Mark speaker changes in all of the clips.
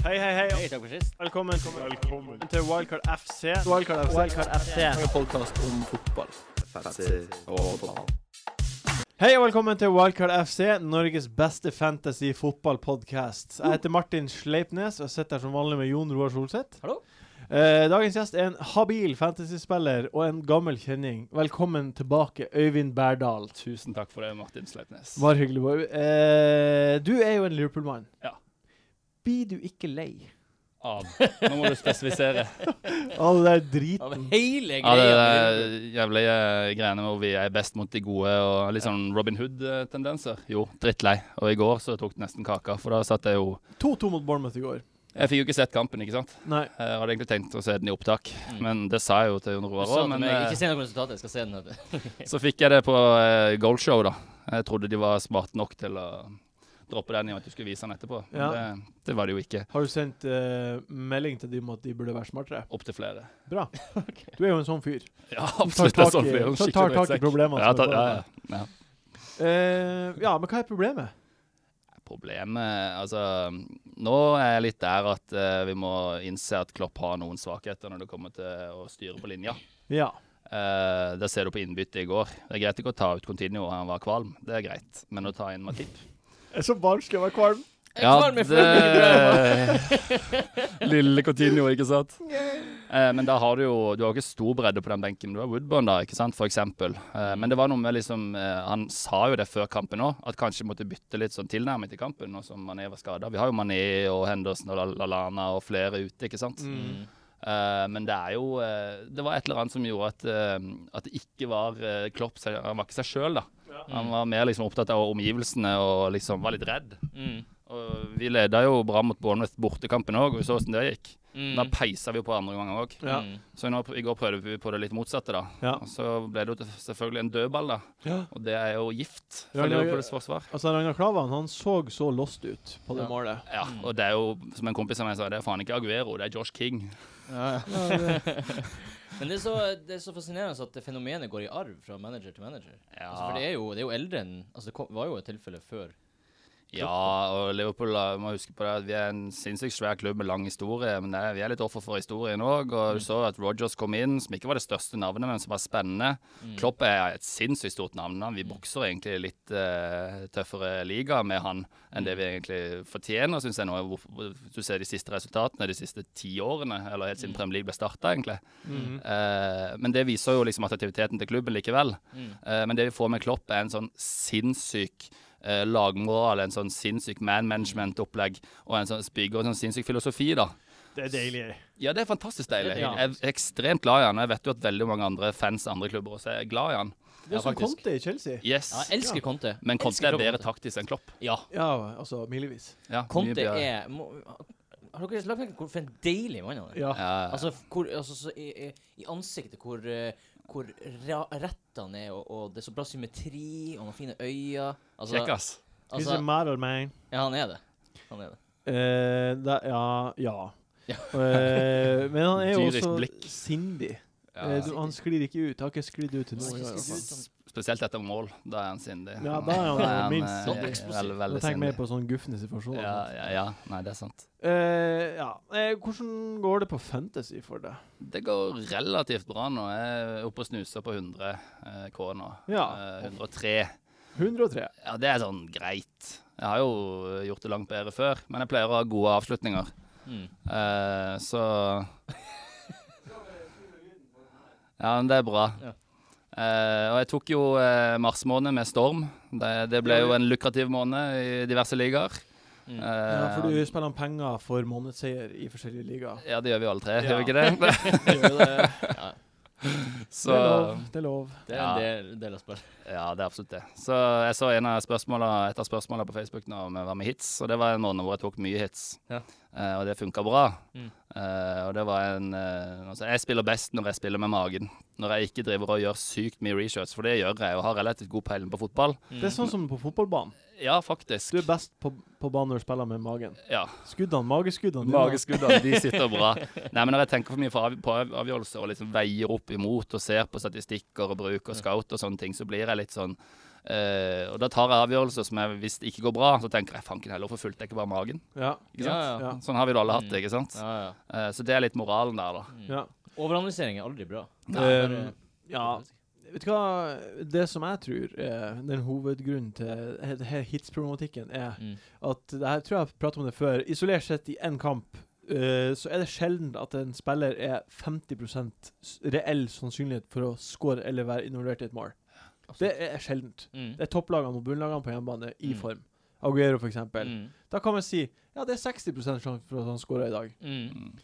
Speaker 1: Hei, hei, hei.
Speaker 2: Hei, takk for sist.
Speaker 1: Velkommen, til Wildcard FC.
Speaker 3: Wildcard FC.
Speaker 1: Wildcard FC.
Speaker 3: En podkast om fotball.
Speaker 1: Hei og velkommen til Wildcard FC, Norges beste fantasy fotballpodcast. Jeg heter Martin Sleipnes og sitter her som vanlig med Jon Roar Solseth.
Speaker 2: Hallo.
Speaker 1: Eh, dagens gjest er en habil fantasyspiller og en gammel kjenning. Velkommen tilbake, Øyvind Bærdal.
Speaker 4: Tusen takk for det, Martin Sleipnes.
Speaker 1: Bare hyggelig. boy. Eh, du er jo en Liverpool-mann.
Speaker 4: Ja.
Speaker 1: Blir du ikke lei
Speaker 4: Av. Nå må du spesifisere.
Speaker 1: av det der drit...
Speaker 2: Av hele
Speaker 4: Ja, det
Speaker 2: greia.
Speaker 4: er jævlige greiene hvor vi er best mot de gode, og litt sånn Robin Hood-tendenser. Jo, drittlei. Og i går så tok det nesten kaka, for da satt jeg jo
Speaker 1: 2-2 mot Bournemouth i går.
Speaker 4: Jeg fikk jo ikke sett kampen, ikke sant.
Speaker 1: Nei.
Speaker 4: Jeg hadde egentlig tenkt å se den i opptak,
Speaker 2: Mm.
Speaker 4: men det sa jeg jo til Jon
Speaker 2: Du
Speaker 4: Roar
Speaker 2: sa
Speaker 1: Sånn
Speaker 4: òg.
Speaker 2: til
Speaker 4: Men
Speaker 2: meg,
Speaker 4: eh,
Speaker 2: ikke se noe resultat, jeg skal se den. vet du.
Speaker 4: så fikk jeg det på eh, goalshow, da. Jeg trodde de var smarte nok til å droppe den i og at du skulle vise den etterpå. Men
Speaker 1: Ja.
Speaker 4: det, det var det jo ikke.
Speaker 1: Har du sendt eh, melding til dem om at de burde være smartere?
Speaker 4: Opptil flere.
Speaker 1: Bra. Du er jo en sånn fyr.
Speaker 4: Ja,
Speaker 1: Tar
Speaker 4: absolutt.
Speaker 1: tak
Speaker 4: jeg så
Speaker 1: i- tar
Speaker 4: flere. sånn Skikkelig
Speaker 1: tak i
Speaker 4: drittsekk.
Speaker 1: problemene
Speaker 4: Ja,
Speaker 1: som er
Speaker 4: ta, ja,
Speaker 1: foran deg.
Speaker 4: ja, ja.
Speaker 1: Eh, ja, men hva er problemet?
Speaker 4: Problemet Altså, nå er jeg litt der at eh, vi må innse at Klopp har noen svakheter når det kommer til å styre på linja.
Speaker 1: Ja.
Speaker 4: Eh, det ser du på innbyttet i går. Det er greit ikke å ta ut Continuo, han var kvalm. Det er greit. Men å ta inn Matip
Speaker 1: Jeg er så barnslig å være kvalm.
Speaker 2: Jeg er kvalm, jeg
Speaker 4: det- Lille Continuo, ikke sant? Eh, men da har du jo Du har ikke stor bredde på den benken. Du har Woodburn, da, ikke sant, for eksempel. Eh, men det var noe med liksom eh, Han sa jo det før kampen òg, at kanskje måtte bytte litt sånn tilnærming til kampen nå som Mané var skada. Vi har jo Mané og Henderson og La- Lallana og flere ute, ikke sant.
Speaker 2: Mm.
Speaker 4: Eh, men det er jo eh, Det var et eller annet som gjorde at, eh, at det ikke var eh, Klopp seg- Han var ikke seg sjøl, da. Han var mer liksom opptatt av omgivelsene og liksom var litt redd.
Speaker 2: Mm.
Speaker 4: Og vi leda jo bra mot Bournemouth bortekampen òg, og vi så hvordan det gikk.
Speaker 2: Mm.
Speaker 4: Da peisa vi jo på andre gang òg.
Speaker 1: Ja.
Speaker 2: Mm.
Speaker 4: Så nå, i går prøvde vi på det litt motsatte, da.
Speaker 1: Ja.
Speaker 4: Og så ble det jo til- selvfølgelig en dødball, da.
Speaker 1: Ja.
Speaker 4: Og det er jo gift
Speaker 1: Ja,
Speaker 4: for
Speaker 1: det er jo-
Speaker 4: Liverpools forsvar.
Speaker 1: Altså, Ragnar Klavan han så så lost ut på det
Speaker 2: Ja.
Speaker 1: målet.
Speaker 4: Ja, og det er jo, som en kompis av meg sa, det er faen ikke Aguero, det er Josh King.
Speaker 2: Men det er, så, det er så fascinerende at det fenomenet går i arv fra manager til manager. Altså, for det
Speaker 4: Ja,
Speaker 2: er, jo, det er jo eldre enn Altså, det kom, var jo et tilfelle før.
Speaker 4: ja og Liverpool da, må huske på det at vi er en sinnssykt svær klubb med lang historie, men det, er- vi er litt offer for historien òg.
Speaker 2: Mm.
Speaker 4: Og du så at Rogers kom inn, som ikke var det største navnet, men som var spennende.
Speaker 2: Mm.
Speaker 4: Klopp er et sinnssykt stort navn. Han. Vi bokser egentlig litt eh, tøffere liga med han enn
Speaker 2: Mm.
Speaker 4: det vi egentlig fortjener, syns jeg nå. Hvor- hvor- Du ser de siste resultatene de siste ti årene, eller helt
Speaker 2: Mm.
Speaker 4: siden Premier League ble starta, egentlig. Eh, men det viser jo liksom attraktiviteten til klubben likevel.
Speaker 2: Mm.
Speaker 4: Eh, men det vi får med Klopp, er en sånn sinnssyk eh, lagmoral, en sånn sinnssyk man management-opplegg, og en sånn bygger en sånn sinnssyk filosofi, da.
Speaker 1: Det er deilig.
Speaker 4: Ja, det er fantastisk deilig.
Speaker 2: Det er
Speaker 4: Jeg
Speaker 2: deilig.
Speaker 4: er ekstremt glad i han. og Jeg vet jo at veldig mange andre fans i andre klubber også er glad i han.
Speaker 1: Det er
Speaker 4: Ja,
Speaker 1: som
Speaker 4: faktisk.
Speaker 1: Conte i Chelsea.
Speaker 4: Yes.
Speaker 2: Ja, jeg elsker Conte.
Speaker 4: Men Conte
Speaker 2: Elsker
Speaker 4: er bedre
Speaker 2: Conte.
Speaker 4: taktisk enn Klopp.
Speaker 2: Ja.
Speaker 1: Ja, altså milevis.
Speaker 4: Ja, mye
Speaker 2: Conte
Speaker 4: bedre.
Speaker 2: er må, Har dere lagt merke til hvor for en deilig mann han er?
Speaker 1: Ja.
Speaker 4: ja, ja.
Speaker 2: Altså, hvor, altså så i, i- i ansiktet hvor, eh, hvor ra, rett han er, og, og det er så bra symmetri, og han har fine øyne. Altså,
Speaker 4: Kjekk, ass.
Speaker 1: He's
Speaker 2: altså,
Speaker 1: a matter man.
Speaker 2: ja, han er det. Han er det.
Speaker 1: Eh, da, ja. ja.
Speaker 2: Ja.
Speaker 1: Eh, men han er jo
Speaker 4: Dyrisk
Speaker 1: også
Speaker 4: blikk.
Speaker 1: sindig.
Speaker 4: Ja.
Speaker 1: Eh, du, han sklir ikke ut. Har ikke sklidd ut til
Speaker 2: Han
Speaker 1: noe. i
Speaker 2: er
Speaker 1: hvert
Speaker 2: ikke
Speaker 1: fall.
Speaker 2: så ut som-
Speaker 4: Spesielt etter mål. Da er han sindig.
Speaker 1: Ja, da er han, eh,
Speaker 4: eh,
Speaker 1: minst
Speaker 2: sånn
Speaker 4: eh,
Speaker 2: eksplosiv.
Speaker 4: Veldig,
Speaker 1: Nå
Speaker 4: veldig
Speaker 1: tenker jeg mer
Speaker 4: sindig.
Speaker 1: på sånn sånne gufne situasjoner.
Speaker 4: Ja, ja, ja. Nei, det er sant.
Speaker 1: altså. Eh, ja. Eh, hvordan går det på fantasy for deg?
Speaker 4: Det går relativt bra nå. Jeg er oppe og snuser på 100 eh, K nå.
Speaker 1: Ja.
Speaker 4: Eh, 103.
Speaker 1: 103.
Speaker 4: Ja, det er sånn greit. Jeg har jo gjort det langt bedre før, men jeg pleier å ha gode avslutninger.
Speaker 2: Mm.
Speaker 4: Eh, så Ja, men det er bra.
Speaker 2: Ja.
Speaker 4: Eh, og jeg tok jo eh, mars måned med storm. Det, det ble jo en lukrativ måned i diverse ligaer.
Speaker 2: Mm.
Speaker 4: Eh,
Speaker 1: Ja, for du spiller om penger for månedsseier i forskjellige ligaer.
Speaker 4: Eh, ja, det gjør vi jo alle tre,
Speaker 1: Ja.
Speaker 4: gjør vi ikke det?
Speaker 2: Ja,
Speaker 1: Det
Speaker 4: Så
Speaker 1: er lov. Det er lov.
Speaker 2: det er
Speaker 4: Ja.
Speaker 2: en del, del av spillet.
Speaker 4: Ja, det er absolutt det. Så jeg så en av spørsmålene, et av spørsmålene på Facebook nå om å være med hits, og det var en måned hvor jeg tok mye hits.
Speaker 2: Ja.
Speaker 4: Eh, og det funka bra.
Speaker 2: Mm.
Speaker 4: Eh, og det var en eh, altså, Jeg spiller best når jeg spiller med magen. Når jeg ikke driver og gjør sykt mye research, for det gjør jeg, og har relativt god peiling på fotball.
Speaker 1: Det er sånn som på fotballbanen.
Speaker 4: Ja, faktisk.
Speaker 1: Du er best på, på banen når du spiller med magen.
Speaker 4: Ja.
Speaker 1: Skuddene, mageskuddene
Speaker 2: Sånn,
Speaker 1: dine.
Speaker 4: Mageskuddene, de sitter bra. Nei, men når jeg tenker for mye på av- på av- avgjørelser og liksom veier opp imot og ser på statistikker og bruk og scout og sånne ting, så blir jeg litt sånn Eh, og da tar jeg avgjørelser som jeg, hvis det ikke går bra, så tenker jeg fanken heller, hvorfor fulgte jeg ikke bare magen?
Speaker 1: Ja.
Speaker 4: Ikke
Speaker 2: Ja,
Speaker 4: sant?
Speaker 1: ja.
Speaker 4: Sånn har vi det alle hatt det,
Speaker 2: Mm.
Speaker 4: ikke sant?
Speaker 2: Ja, ja.
Speaker 4: Eh, så det er litt moralen der, da.
Speaker 1: ja.
Speaker 2: Overanalysering er aldri bra.
Speaker 1: Um, ja. Vet du hva, det som jeg tror er den hovedgrunnen til he- he- hitsproblematikken, er
Speaker 2: Mm.
Speaker 1: at det her tror jeg jeg har pratet om det før. Isolert sett i én kamp, eh, så er det sjelden at en spiller er 50 s- reell sannsynlighet for å score eller være involvert i et mål. Det er sjeldent.
Speaker 2: Mm.
Speaker 1: Det er topplagene og bunnlagene på hjemmebane i
Speaker 2: Mm.
Speaker 1: form. Aguero, for eksempel.
Speaker 2: Mm.
Speaker 1: Da kan man si ja, det er 60 sjanse for at han scorer i dag.
Speaker 2: Mm.
Speaker 4: Mm.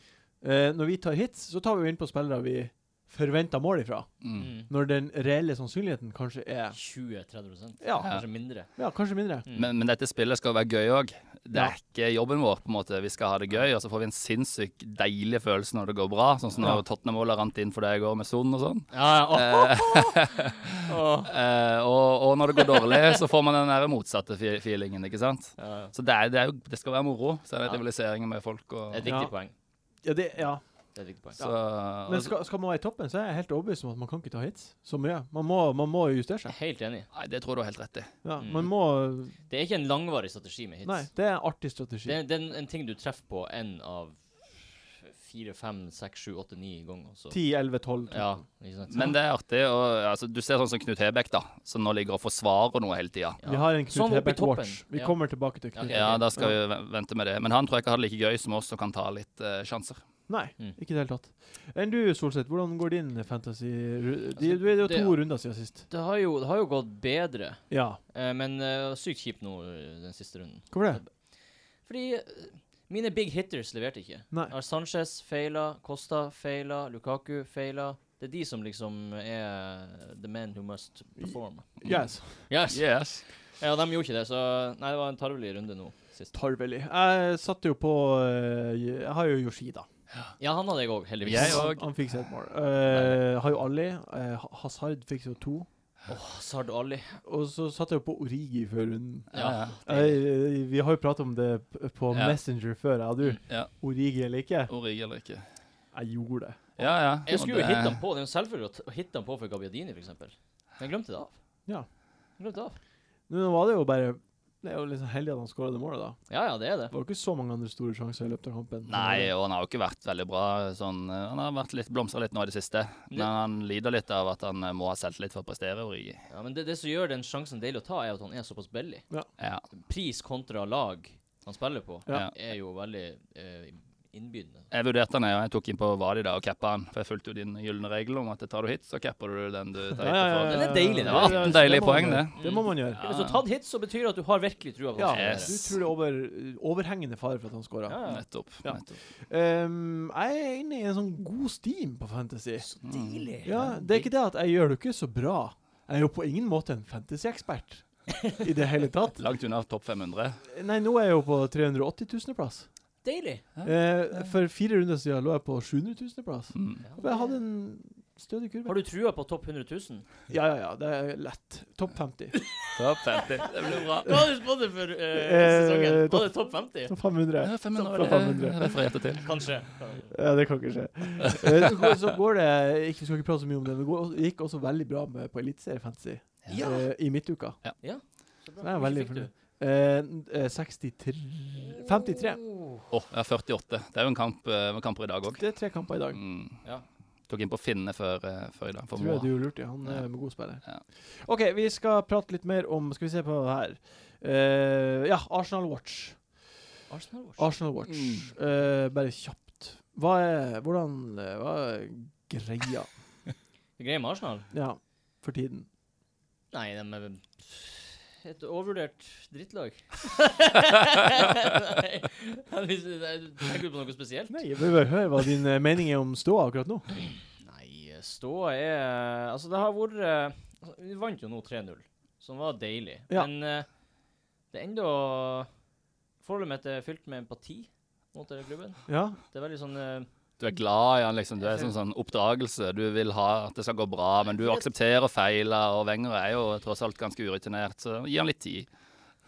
Speaker 1: Eh, når vi tar hits, så tar vi jo inn på spillere vi forventer mål ifra.
Speaker 4: Mm.
Speaker 2: Mm.
Speaker 1: Når den reelle sannsynligheten kanskje er
Speaker 2: 20-30
Speaker 1: Ja.
Speaker 2: kanskje mindre.
Speaker 1: Ja, kanskje mindre.
Speaker 2: Mm.
Speaker 4: Men, men dette spillet skal være gøy òg. Det
Speaker 1: Ja.
Speaker 4: er ikke jobben vår. på en måte. Vi skal ha det gøy, og så får vi en sinnssykt deilig følelse når det går bra. Sånn som
Speaker 1: Ja.
Speaker 4: når Tottenham-målet rant inn for deg i går med Son og sånn.
Speaker 2: ja,
Speaker 1: Eh.
Speaker 2: ja. åh, åh.
Speaker 4: Eh, og, og når det går dårlig, så får man den der motsatte fe- feelingen, ikke sant.
Speaker 2: Ja, ja.
Speaker 4: Så det, er, det, er jo, det skal være moro. Så er det
Speaker 2: Ja.
Speaker 4: rivalisering med folk og
Speaker 2: Det er et
Speaker 1: Ja.
Speaker 2: viktig poeng.
Speaker 1: Ja, det, ja.
Speaker 2: Det er et viktig poeng.
Speaker 4: så,
Speaker 1: Men skal, skal man være i toppen, så er jeg helt overbevist om at man kan ikke ta hits så mye. Man må, man må justere
Speaker 2: Jeg
Speaker 1: seg.
Speaker 2: er helt enig.
Speaker 4: Nei, det tror jeg du har helt rett i.
Speaker 1: Ja,
Speaker 2: Mm.
Speaker 1: man må
Speaker 2: Det er ikke en langvarig strategi med hits.
Speaker 1: Nei, det er en artig strategi.
Speaker 2: Det, er- det er en, en ting du treffer på én av fire, fem, seks, sju, åtte, ni ganger. Så.
Speaker 1: 10, 11, 12
Speaker 2: Ja, ikke sant?
Speaker 4: Men det er artig. Og, altså, du ser sånn som Knut Hebekk, da, som nå ligger og forsvarer noe hele tida.
Speaker 2: Ja.
Speaker 1: Vi har en
Speaker 2: Sånn
Speaker 1: Knut
Speaker 2: oppe i toppen.
Speaker 1: Hebekk-watch. Vi
Speaker 2: Ja.
Speaker 1: kommer tilbake til Knut.
Speaker 2: Ok.
Speaker 4: Ja, da skal vi ve- vente med det. Men han tror jeg ikke har det like gøy som oss og kan ta litt eh, sjanser.
Speaker 1: Nei,
Speaker 2: Mm.
Speaker 1: ikke i det hele tatt. Enn du, Solseth, hvordan går din fantasy ru- de, Du er jo
Speaker 2: Altså, det-
Speaker 1: to runder siden sist.
Speaker 2: Det har jo, det har jo gått bedre,
Speaker 1: Ja.
Speaker 2: eh, men eh, sykt kjipt nå eh, den siste runden.
Speaker 1: Hvorfor det?
Speaker 2: Fordi eh, mine big hitters leverte ikke.
Speaker 1: Nei.
Speaker 2: Har Sanchez feila, Costa feila, Lukaku feila. Det er de som liksom er the man who must perform.
Speaker 1: Yes.
Speaker 2: Yes!
Speaker 4: Yes.
Speaker 2: Ja, de gjorde ikke det, så Nei, det var en tarvelig runde nå sist.
Speaker 1: Tarveli. Jeg satte jo på eh, Jeg har jo Yoshida.
Speaker 2: Ja, han hadde jeg òg, heldigvis.
Speaker 4: Jeg
Speaker 1: han,
Speaker 4: òg.
Speaker 1: han fikk seg et mål. Eh, har jo Ali. eh, Ha- Hazard fikk jo to.
Speaker 2: Åh, Sard Ali.
Speaker 1: Og så satt jeg jo på Origi før runden.
Speaker 2: Ja.
Speaker 4: Ja.
Speaker 1: Eh, vi har jo pratet om det p- på
Speaker 4: Ja.
Speaker 1: Messenger før, jeg og du.
Speaker 4: Ja.
Speaker 1: Origi eller ikke?
Speaker 4: Origi eller ikke.
Speaker 1: Jeg gjorde det.
Speaker 4: Ja, ja.
Speaker 2: Jeg skulle
Speaker 4: Og
Speaker 2: jo
Speaker 4: det-
Speaker 2: hitte han på. Det er jo selvfølgelig å t- å hitte han på for Gabbiadini, f.eks. Men jeg glemte det av.
Speaker 1: Ja.
Speaker 2: Jeg Glemte det av.
Speaker 1: Nå var det jo bare Det er jo liksom heldig at han skåra det målet, da.
Speaker 2: Ja, ja, det er det.
Speaker 1: Det var jo ikke så mange andre store sjanser i løpet av kampen.
Speaker 4: Nei, og han har jo ikke vært veldig bra. Sånn, eh, han har vært litt, blomstra litt nå i det siste. Men han lider litt av at han eh, må ha selvtillit for å prestere. Origi.
Speaker 2: Ja, men det, det som gjør den sjansen deilig å ta, er at han er såpass billig.
Speaker 4: Ja.
Speaker 2: Pris kontra lag han spiller på,
Speaker 1: Ja.
Speaker 2: er jo veldig eh, innbydende.
Speaker 4: Jeg vurderte han, ja, jeg tok inn på Vadi da og cappa han. For jeg fulgte jo din gylne regel om at tar du hit, så capper du den du tar hit for.
Speaker 2: ja. Det er deilig, det.
Speaker 1: Ja, ja,
Speaker 4: Det er
Speaker 1: så
Speaker 4: deilig
Speaker 1: må man
Speaker 4: poeng,
Speaker 1: gjøre.
Speaker 4: det.
Speaker 1: Det må man gjøre.
Speaker 4: Ja.
Speaker 2: Hvis du har tatt hit, så betyr det at du har virkelig trua på
Speaker 1: Ja,
Speaker 2: han.
Speaker 4: Yes.
Speaker 1: Du tror det er over, overhengende fare for at han skåra.
Speaker 2: Ja, ja.
Speaker 4: Nettopp.
Speaker 1: Ja.
Speaker 4: nettopp.
Speaker 1: Um, jeg er inne i en sånn god steam på Fantasy.
Speaker 2: Så deilig.
Speaker 1: Mm. Ja, Det er ikke det at jeg gjør det jo ikke så bra. Jeg er jo på ingen måte en fantasy-ekspert i det hele tatt.
Speaker 4: Langt unna topp 500.
Speaker 1: Nei, nå er jeg jo på 380 000.-plass.
Speaker 2: Deilig.
Speaker 1: Eh, for fire runder siden lå jeg på 700 000.-plass.
Speaker 4: Mm.
Speaker 1: Og jeg hadde en stødig kurve.
Speaker 2: Har du trua på topp 100 000?
Speaker 1: Ja, ja, ja. Det er lett. Topp 50.
Speaker 4: Topp 50. Det blir bra.
Speaker 2: Hva hadde du spådd det for eh,
Speaker 1: sesongen?
Speaker 2: sesongen?
Speaker 1: Var
Speaker 2: Var det topp 50?
Speaker 1: Eh, Topp 500.
Speaker 4: Ja, 500
Speaker 1: Topp 500.
Speaker 4: det refererte til.
Speaker 2: Kanskje.
Speaker 1: Ja, det kan ikke skje. Eh, så går- så går det ikke, Vi skal ikke prate så mye om det, men det går- det gikk også veldig bra med på Eliteserie Fantasy
Speaker 2: Ja.
Speaker 1: eh, i midtuka. Så jeg er veldig fornøyd. Eh, n- eh, 63 53.
Speaker 2: Oh,
Speaker 4: Åh, jeg har 48. Det er jo en kamp, eh, med kamper i dag òg.
Speaker 1: Det er tre kamper i dag.
Speaker 4: Mm.
Speaker 2: Ja.
Speaker 4: Tok inn på Finne før, eh, før i dag. For
Speaker 1: Tror jeg
Speaker 4: Moa.
Speaker 1: du gjorde lurt i. Han
Speaker 4: Ja.
Speaker 1: er med god spiller.
Speaker 4: Ja.
Speaker 1: OK, vi skal prate litt mer om Skal vi se på her. Eh, ja, Arsenal Watch.
Speaker 2: Arsenal Watch.
Speaker 1: Arsenal Watch. Eh, bare kjapt. Hva er Hvordan eh, Hva er greia?
Speaker 2: Det greier med Arsenal?
Speaker 1: Ja, for tiden.
Speaker 2: Nei, de er et overvurdert drittlag. Nei, hvis- nei, Tenker du på noe spesielt?
Speaker 1: Nei, jeg vil bare høre hva din eh, mening er om ståa akkurat nå.
Speaker 2: Nei, ståa er Altså, det har vært eh, altså, Vi vant jo nå 3-0, som var deilig.
Speaker 1: Ja.
Speaker 2: Men eh, det er ennå Forholdet mitt er fylt med empati mot denne klubben.
Speaker 1: Ja,
Speaker 2: Det er veldig sånn eh,
Speaker 4: Du er glad i han, liksom. Du er sånn, sånn oppdragelse. Du vil ha at det skal gå bra, men du aksepterer feiler, og Wenger er jo tross alt ganske urutinert, så gi han litt tid.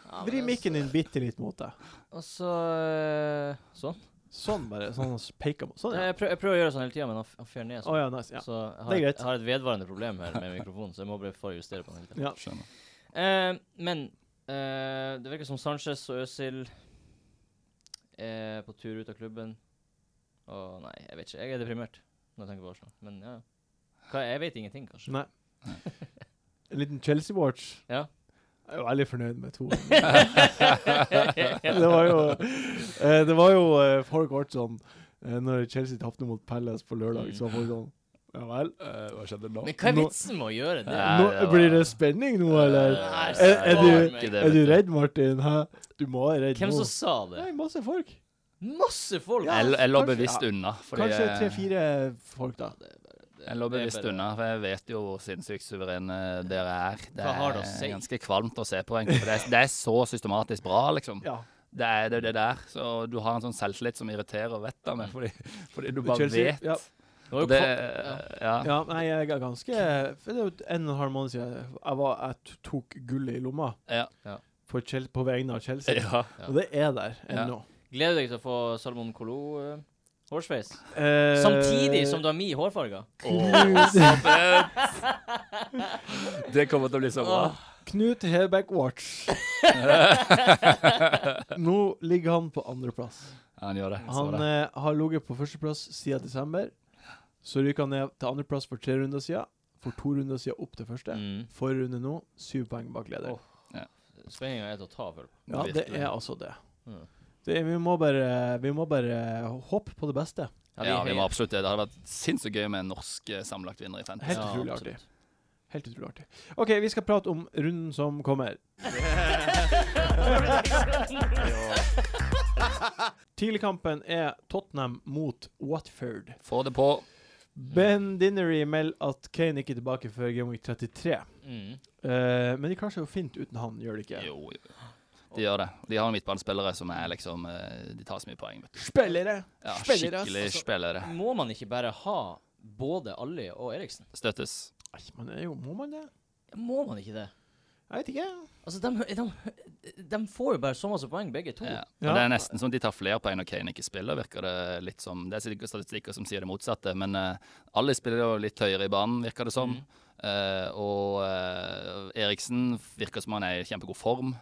Speaker 2: ja,
Speaker 1: Vri
Speaker 2: men
Speaker 1: mikken din bitte litt mot deg.
Speaker 2: Altså eh, Sånn.
Speaker 1: Sånn, bare. Sånn peker mot. Sånn, ja.
Speaker 2: Jeg, prøver, jeg prøver å gjøre sånn hele tida, men han f- han fer ned
Speaker 1: Å
Speaker 2: sånn.
Speaker 1: ja, nice. Ja.
Speaker 2: Så jeg
Speaker 1: Det
Speaker 2: har,
Speaker 1: er greit.
Speaker 2: jeg har et vedvarende problem her med mikrofonen, så jeg må bare få justere på den. hele tiden.
Speaker 1: ja.
Speaker 4: Skjønner.
Speaker 2: Eh, Eh, men eh, det virker som Sanchez og Øzil er på tur ut av klubben. Og nei, jeg vet ikke. Jeg er deprimert når jeg tenker på Arsenal. Men ja. Hva, jeg vet ingenting, kanskje.
Speaker 1: Nei. En liten Chelsea-watch.
Speaker 2: Ja.
Speaker 1: Jeg er jo veldig fornøyd med to. det var jo eh, Det var jo eh, Folk ble sånn eh, Når Chelsea tapte mot Palace på lørdag, så var folk sånn Ja vel?
Speaker 4: hva skjedde nå?
Speaker 2: Men hva er
Speaker 1: Nå-
Speaker 2: vitsen med å gjøre det?
Speaker 4: Nei,
Speaker 1: Nå,
Speaker 4: det var-
Speaker 1: blir det spenning nå, eller?
Speaker 4: Eh,
Speaker 2: Nei,
Speaker 1: Er, er,
Speaker 2: spar
Speaker 1: du,
Speaker 2: meg.
Speaker 1: er du redd, Martin? Hæ? Du må være redd
Speaker 2: Hvem
Speaker 1: nå.
Speaker 2: som sa det?
Speaker 1: Nei, masse folk.
Speaker 2: Masse folk!
Speaker 1: Ja,
Speaker 4: Jeg, jeg lå
Speaker 1: kanskje-
Speaker 4: bevisst
Speaker 1: ja.
Speaker 4: unna. Fordi
Speaker 1: Kanskje
Speaker 4: jeg-
Speaker 1: tre-fire folk, da.
Speaker 4: Jeg lå bevisst unna, for jeg vet jo hvor sinnssykt suverene dere er. Det
Speaker 2: Hva har det å
Speaker 4: er
Speaker 2: si?
Speaker 4: ganske kvalmt å se på, egentlig. For det er, det er så systematisk bra, liksom.
Speaker 1: Ja.
Speaker 4: Det er det, er det der. Så du har en sånn selvtillit som irriterer vettet av meg, fordi, fordi du bare
Speaker 1: Chelsea,
Speaker 4: vet.
Speaker 1: ja.
Speaker 2: Det var jo
Speaker 4: Det,
Speaker 2: kva-
Speaker 4: ja.
Speaker 1: Ja, nei, jeg er ganske for Det er jo en og en halv måned siden jeg, var, jeg t- tok gullet i lomma
Speaker 4: Ja.
Speaker 1: for Chel på vegne av Chelsea.
Speaker 4: ja.
Speaker 1: Og det er der ennå.
Speaker 2: ja. Gleder deg til å få Salomon Kolo eh, hårsveis.
Speaker 1: Eh,
Speaker 2: Samtidig som du har min hårfarge.
Speaker 1: Knut,
Speaker 4: Det kommer til å bli så bra.
Speaker 1: Knut Hebekk Watch. Nå ligger han på andreplass.
Speaker 4: Ja, han gjør det. Jeg så
Speaker 1: Han
Speaker 4: det.
Speaker 1: eh, har ligget på førsteplass siden desember. Så ryker han ned til andreplass for tre runder siden. For to runder siden opp til første.
Speaker 2: Mm.
Speaker 1: Forrige runde nå, syv poeng bak leder.
Speaker 2: Åh. Spenninga er til å ta, føler jeg.
Speaker 1: ja, det
Speaker 4: virkelig.
Speaker 1: er altså det.
Speaker 2: Mm.
Speaker 1: det vi, må bare, vi må bare håpe på det beste.
Speaker 2: Ja, vi er
Speaker 4: Ja, vi
Speaker 2: høye.
Speaker 4: må absolutt det. Det hadde vært sinnssykt gøy med en norsk eh, sammenlagt vinner i Fantasy.
Speaker 1: Helt utrolig
Speaker 2: absolutt.
Speaker 1: artig. Helt utrolig artig. OK, vi skal prate om runden som kommer. Tidligkampen er Tottenham mot Watford.
Speaker 4: Få det på. Mm.
Speaker 1: Ben Dinnery melder at Kane ikke er tilbake før Game Week 33.
Speaker 2: Mm.
Speaker 1: Eh, men de klarer seg jo fint uten han, gjør de ikke?
Speaker 4: Jo, jo. De gjør det. De har midtbanespillere som er liksom eh, De tar så mye poeng, vet du.
Speaker 1: Spillere!
Speaker 4: Ja,
Speaker 1: Spillere,
Speaker 4: skikkelig
Speaker 2: altså.
Speaker 4: spillere.
Speaker 2: Må man ikke bare ha både Alli og Eriksen?
Speaker 4: Støttes.
Speaker 1: Nei, men er jo, må man det?
Speaker 2: Må man ikke det?
Speaker 1: Jeg vet ikke.
Speaker 2: Altså, de, de, de får jo bare så masse poeng, begge to.
Speaker 4: Ja.
Speaker 1: Ja.
Speaker 4: Og Det er nesten som de tar flere poeng når Kane ikke spiller, virker det litt som. Det er sikkert statistikker som sier det motsatte, men eh, alle spiller jo litt høyere i banen, virker det som.
Speaker 2: Mm.
Speaker 4: Eh, og eh, Eriksen virker som han er i kjempegod form.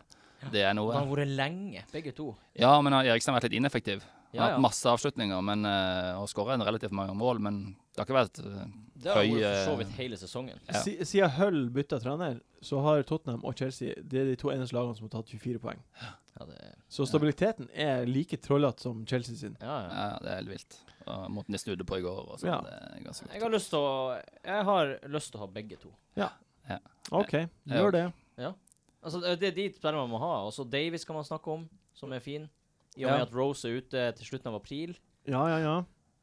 Speaker 4: Det er
Speaker 2: De
Speaker 4: noe.
Speaker 2: har vært lenge, begge to.
Speaker 4: Ja, men han- Eriksen har vært litt ineffektiv. Han
Speaker 2: Ja,
Speaker 4: har
Speaker 2: ja.
Speaker 4: hatt masse avslutninger men, eh, og skåra relativt mange mål, men det har ikke vært eh,
Speaker 2: Det har vært
Speaker 4: Høy,
Speaker 2: for så
Speaker 4: eh,
Speaker 2: vidt hele sesongen.
Speaker 4: Ja.
Speaker 1: Si- Siden Hull bytta trener, så har Tottenham og Chelsea Det er de to eneste lagene som har tatt 24 poeng.
Speaker 2: Ja, det,
Speaker 1: Så stabiliteten er like trollete som Chelsea sin.
Speaker 2: ja, ja.
Speaker 4: ja, Det er helt vilt. Og måten de snudde på i går og sånn,
Speaker 1: Ja.
Speaker 4: det er ganske
Speaker 2: Jeg
Speaker 4: godt.
Speaker 2: har lyst til å Jeg har lyst til å ha begge to.
Speaker 1: OK, gjør det.
Speaker 2: Altså, det det er de spillerne man må ha. Også Davies kan man snakke om, som er fin. I og
Speaker 1: Ja.
Speaker 2: med at Rose er ute til slutten av april.
Speaker 1: Ja, ja, ja.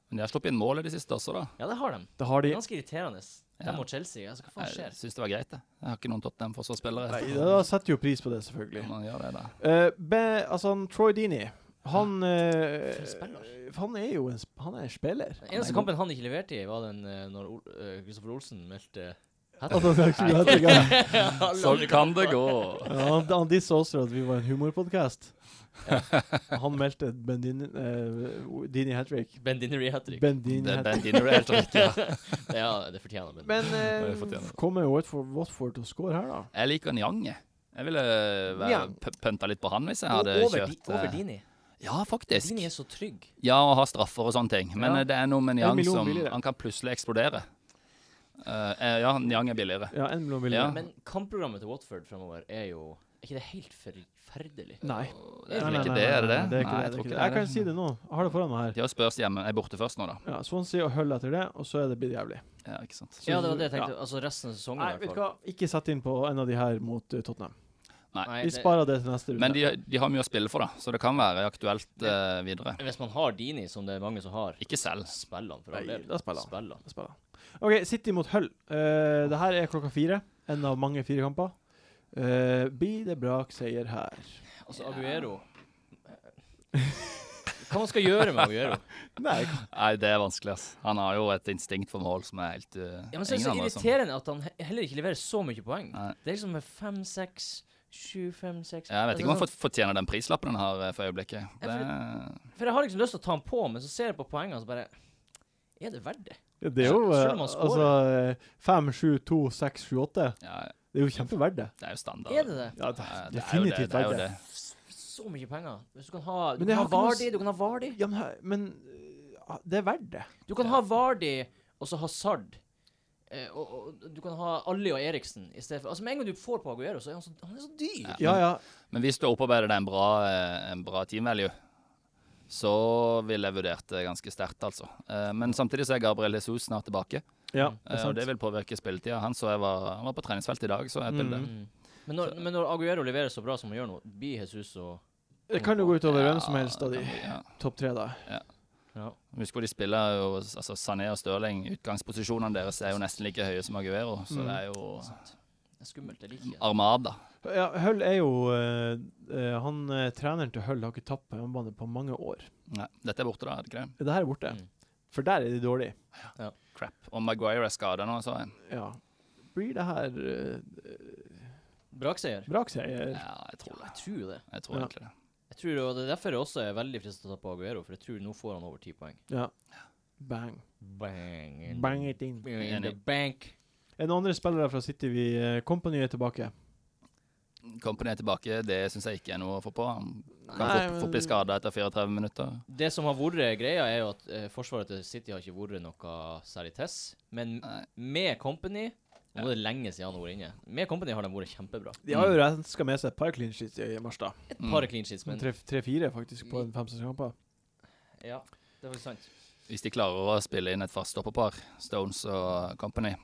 Speaker 4: Men de har sluppet inn mål i det siste også, da.
Speaker 2: Ja, det har de.
Speaker 1: Det har de.
Speaker 2: Ganske irriterende. De
Speaker 4: Ja.
Speaker 2: og Chelsea. Altså, hva faen
Speaker 4: Jeg
Speaker 2: skjer?
Speaker 4: syns det var greit, det. Jeg har ikke noen Tottenham-forsvarsspillere.
Speaker 1: Nei, da setter jo pris på det, selvfølgelig.
Speaker 4: Man gjør det, da.
Speaker 1: Eh, be, altså, han, Troy Deeney, han eh,
Speaker 2: For en spiller.
Speaker 1: Han er jo en, sp- han er en spiller.
Speaker 2: Den eneste kampen han ikke leverte i, var den eh, når Ol eh, Kristoffer Olsen meldte eh,
Speaker 1: Altså, det er ikke så rett i gang.
Speaker 4: Sånn kan det gå.
Speaker 1: Ja, han, han dissa oss for at vi var en humorpodkast. Han meldte Bendini uh, Dini hat trick.
Speaker 2: Ben Dinnery hat trick.
Speaker 1: Bendini
Speaker 4: Det er
Speaker 1: hat
Speaker 4: Ben Dinner helt riktig. ja.
Speaker 2: Ja, det fortjener han. Ben.
Speaker 1: Men eh,
Speaker 4: Det fortjener han.
Speaker 1: kommer jo Watford, Watford til å score her, da?
Speaker 4: Jeg liker Njang, jeg. Jeg ville være-
Speaker 1: Nyang.
Speaker 4: p- pønta litt på han hvis jeg
Speaker 2: O-
Speaker 4: hadde
Speaker 2: over,
Speaker 4: kjørt
Speaker 2: di over
Speaker 4: eh,
Speaker 2: Dini.
Speaker 4: Ja, faktisk.
Speaker 2: Dini er så trygg.
Speaker 4: Ja, å ha straffer og sånne ting. Men
Speaker 1: Ja.
Speaker 4: eh, det er noe med
Speaker 1: En
Speaker 4: Njang
Speaker 1: million
Speaker 4: som
Speaker 1: billigere.
Speaker 4: Han kan plutselig eksplodere. Eh, eh, ja, Njang er billigere.
Speaker 1: Ja, en million vil
Speaker 4: Ja.
Speaker 1: jeg.
Speaker 2: Men kampprogrammet til Watford fremover er jo Er ikke det helt forferdelig?
Speaker 1: Nei.
Speaker 4: Det er
Speaker 1: Nei,
Speaker 4: vel ikke
Speaker 1: nei,
Speaker 4: det,
Speaker 1: nei,
Speaker 4: er
Speaker 1: nei, det? er ikke
Speaker 4: det det? Nei,
Speaker 1: det,
Speaker 4: jeg
Speaker 1: det er ikke
Speaker 4: tror ikke
Speaker 1: det.
Speaker 4: det er
Speaker 1: Jeg kan
Speaker 4: det.
Speaker 1: si det nå. Jeg har det foran meg her.
Speaker 4: De har Spurs hjemme. Er borte først nå, da.
Speaker 1: Ja, Swansea og Hull etter det, og så er det blitt jævlig.
Speaker 4: Ja, ikke sant.
Speaker 2: Ja, det var det jeg tenkte. Altså resten av sesongen,
Speaker 1: Nei,
Speaker 2: i
Speaker 1: vet
Speaker 2: hvert
Speaker 1: du hva? Ikke sett inn på en av de her mot eh, Tottenham.
Speaker 4: hva?
Speaker 1: Vi
Speaker 2: Nei, det-
Speaker 1: sparer det til neste runde.
Speaker 4: Men de, de har mye å spille for, da, så det kan være aktuelt eh, videre.
Speaker 2: Hvis man har Dini, som det er mange som har,
Speaker 4: Ikke selv.
Speaker 2: spill han for
Speaker 1: Nei,
Speaker 2: all del.
Speaker 1: da spiller han.
Speaker 2: Spill han.
Speaker 1: Da spiller han. OK, City mot Hull. Eh, det her er klokka fire. En av mange firekamper. Uh, blir det brakseier her?
Speaker 2: Altså, Aguero Hva man skal gjøre med Aguero?
Speaker 1: Nei.
Speaker 4: Nei, det er vanskelig, ass. Han har jo et instinkt for mål som er helt uh,
Speaker 2: Ja, men så er det så
Speaker 4: andre som-
Speaker 2: irriterende at han he- heller ikke leverer så mye poeng.
Speaker 4: Nei.
Speaker 2: Det er liksom med fem, seks, sju, fem, seks
Speaker 4: Ja, Jeg vet
Speaker 2: Altså,
Speaker 4: ikke om han
Speaker 2: sånn-
Speaker 4: fort- fortjener den prislappen han har eh, for øyeblikket.
Speaker 2: Ja,
Speaker 4: Det,
Speaker 2: For jeg har liksom lyst til å ta han på, men så ser jeg på poengene, så bare Er det verdt det?
Speaker 1: Det er jo eh,
Speaker 2: Selv om han scorer.
Speaker 1: altså eh, fem, sju, to, seks, sju, åtte.
Speaker 4: ja,
Speaker 1: Det er jo kjempeverdt det.
Speaker 4: Det er jo standard.
Speaker 2: Er det det?
Speaker 1: Ja,
Speaker 4: Eh, det er jo det,
Speaker 1: definitivt
Speaker 4: det er
Speaker 1: verdt
Speaker 4: jo
Speaker 1: det.
Speaker 4: det.
Speaker 2: Så mye penger. Hvis du kan ha
Speaker 1: Men
Speaker 2: Du kan
Speaker 1: jeg
Speaker 2: ha
Speaker 1: har ikke noe
Speaker 2: Vardi, du kan ha Vardi.
Speaker 1: Ja, men, her- men øh, det er verdt det.
Speaker 2: Du kan
Speaker 4: Ja.
Speaker 2: ha Vardi og så ha Sard. Eh, og, og du kan ha Ali og Eriksen i stedet for Altså Med en gang du får på Aguero, så er han så, han er så dyr.
Speaker 4: Ja.
Speaker 1: Ja, ja.
Speaker 4: Men hvis du opparbeider deg en bra, eh, en bra team value, så ville jeg vurdert det ganske sterkt, altså. Eh, Men samtidig så er Gabriel Jesus snart tilbake,
Speaker 1: ja
Speaker 2: Mm.
Speaker 1: det er
Speaker 4: eh, og
Speaker 1: sant.
Speaker 4: det vil påvirke spilletida. Han så jeg var, han var på treningsfeltet i dag, så jeg et bilde.
Speaker 1: Mm.
Speaker 2: Mm. Men, når, men når Aguero leverer så bra som han gjør nå, blir Jesus og
Speaker 1: Det kan jo gå utover hvem som
Speaker 4: Ja,
Speaker 1: helst av de
Speaker 4: det kan bli, ja.
Speaker 1: topp tre, da.
Speaker 2: ja.
Speaker 4: Husk hvor de spiller jo altså Sané og Stirling. Utgangsposisjonene deres er jo nesten like høye som Aguero, så
Speaker 1: Mm.
Speaker 4: det er jo
Speaker 2: sant. Det er skummelt. Jeg liker det.
Speaker 4: Armada.
Speaker 1: Ja, Hull er jo øh, øh, Han øh, treneren til Hull har ikke tapt på hjemmebane på mange år.
Speaker 4: Nei, dette er borte, da. er det ikke det?
Speaker 1: Det her er borte.
Speaker 2: Mm.
Speaker 1: For der er de dårlige.
Speaker 4: Crap. Og Maguire er skada nå, sa jeg.
Speaker 1: Ja. Blir det her øh,
Speaker 2: Brakseier.
Speaker 1: brakseier?
Speaker 4: Ja, jeg tror det.
Speaker 2: Jeg tror det.
Speaker 4: Jeg tror
Speaker 1: Ja.
Speaker 4: egentlig det.
Speaker 2: Jeg tror, og Det er derfor jeg også er veldig fristet til å ta på Aguero, for jeg tror nå får han over ti poeng.
Speaker 1: Ja. Bang.
Speaker 2: Bang
Speaker 4: Mm.
Speaker 2: in,
Speaker 1: Bang it in.
Speaker 2: in the bank.
Speaker 1: Er det noen andre spillere fra City vi eh, Company er tilbake?
Speaker 4: Company er tilbake, det syns jeg ikke er noe å få på. Han kan
Speaker 1: Nei,
Speaker 4: fort,
Speaker 1: men-
Speaker 4: fort bli skada etter 34 minutter.
Speaker 2: Det som har vært greia, er jo at eh, forsvaret til City har ikke vært noe særlig tess. Men
Speaker 4: Nei.
Speaker 2: med Company Nå er det lenge siden han har vært inne. Med Company har de vært kjempebra.
Speaker 1: De har jo renska med seg et par clean sheets i Marstad.
Speaker 2: Et
Speaker 4: Mm.
Speaker 2: par clean sheets, men
Speaker 1: Tre-fire, faktisk, på en fem-seks kamper.
Speaker 2: Ja, det er faktisk sant.
Speaker 4: Hvis de klarer å spille inn et fast stopperpar, Stones og Company,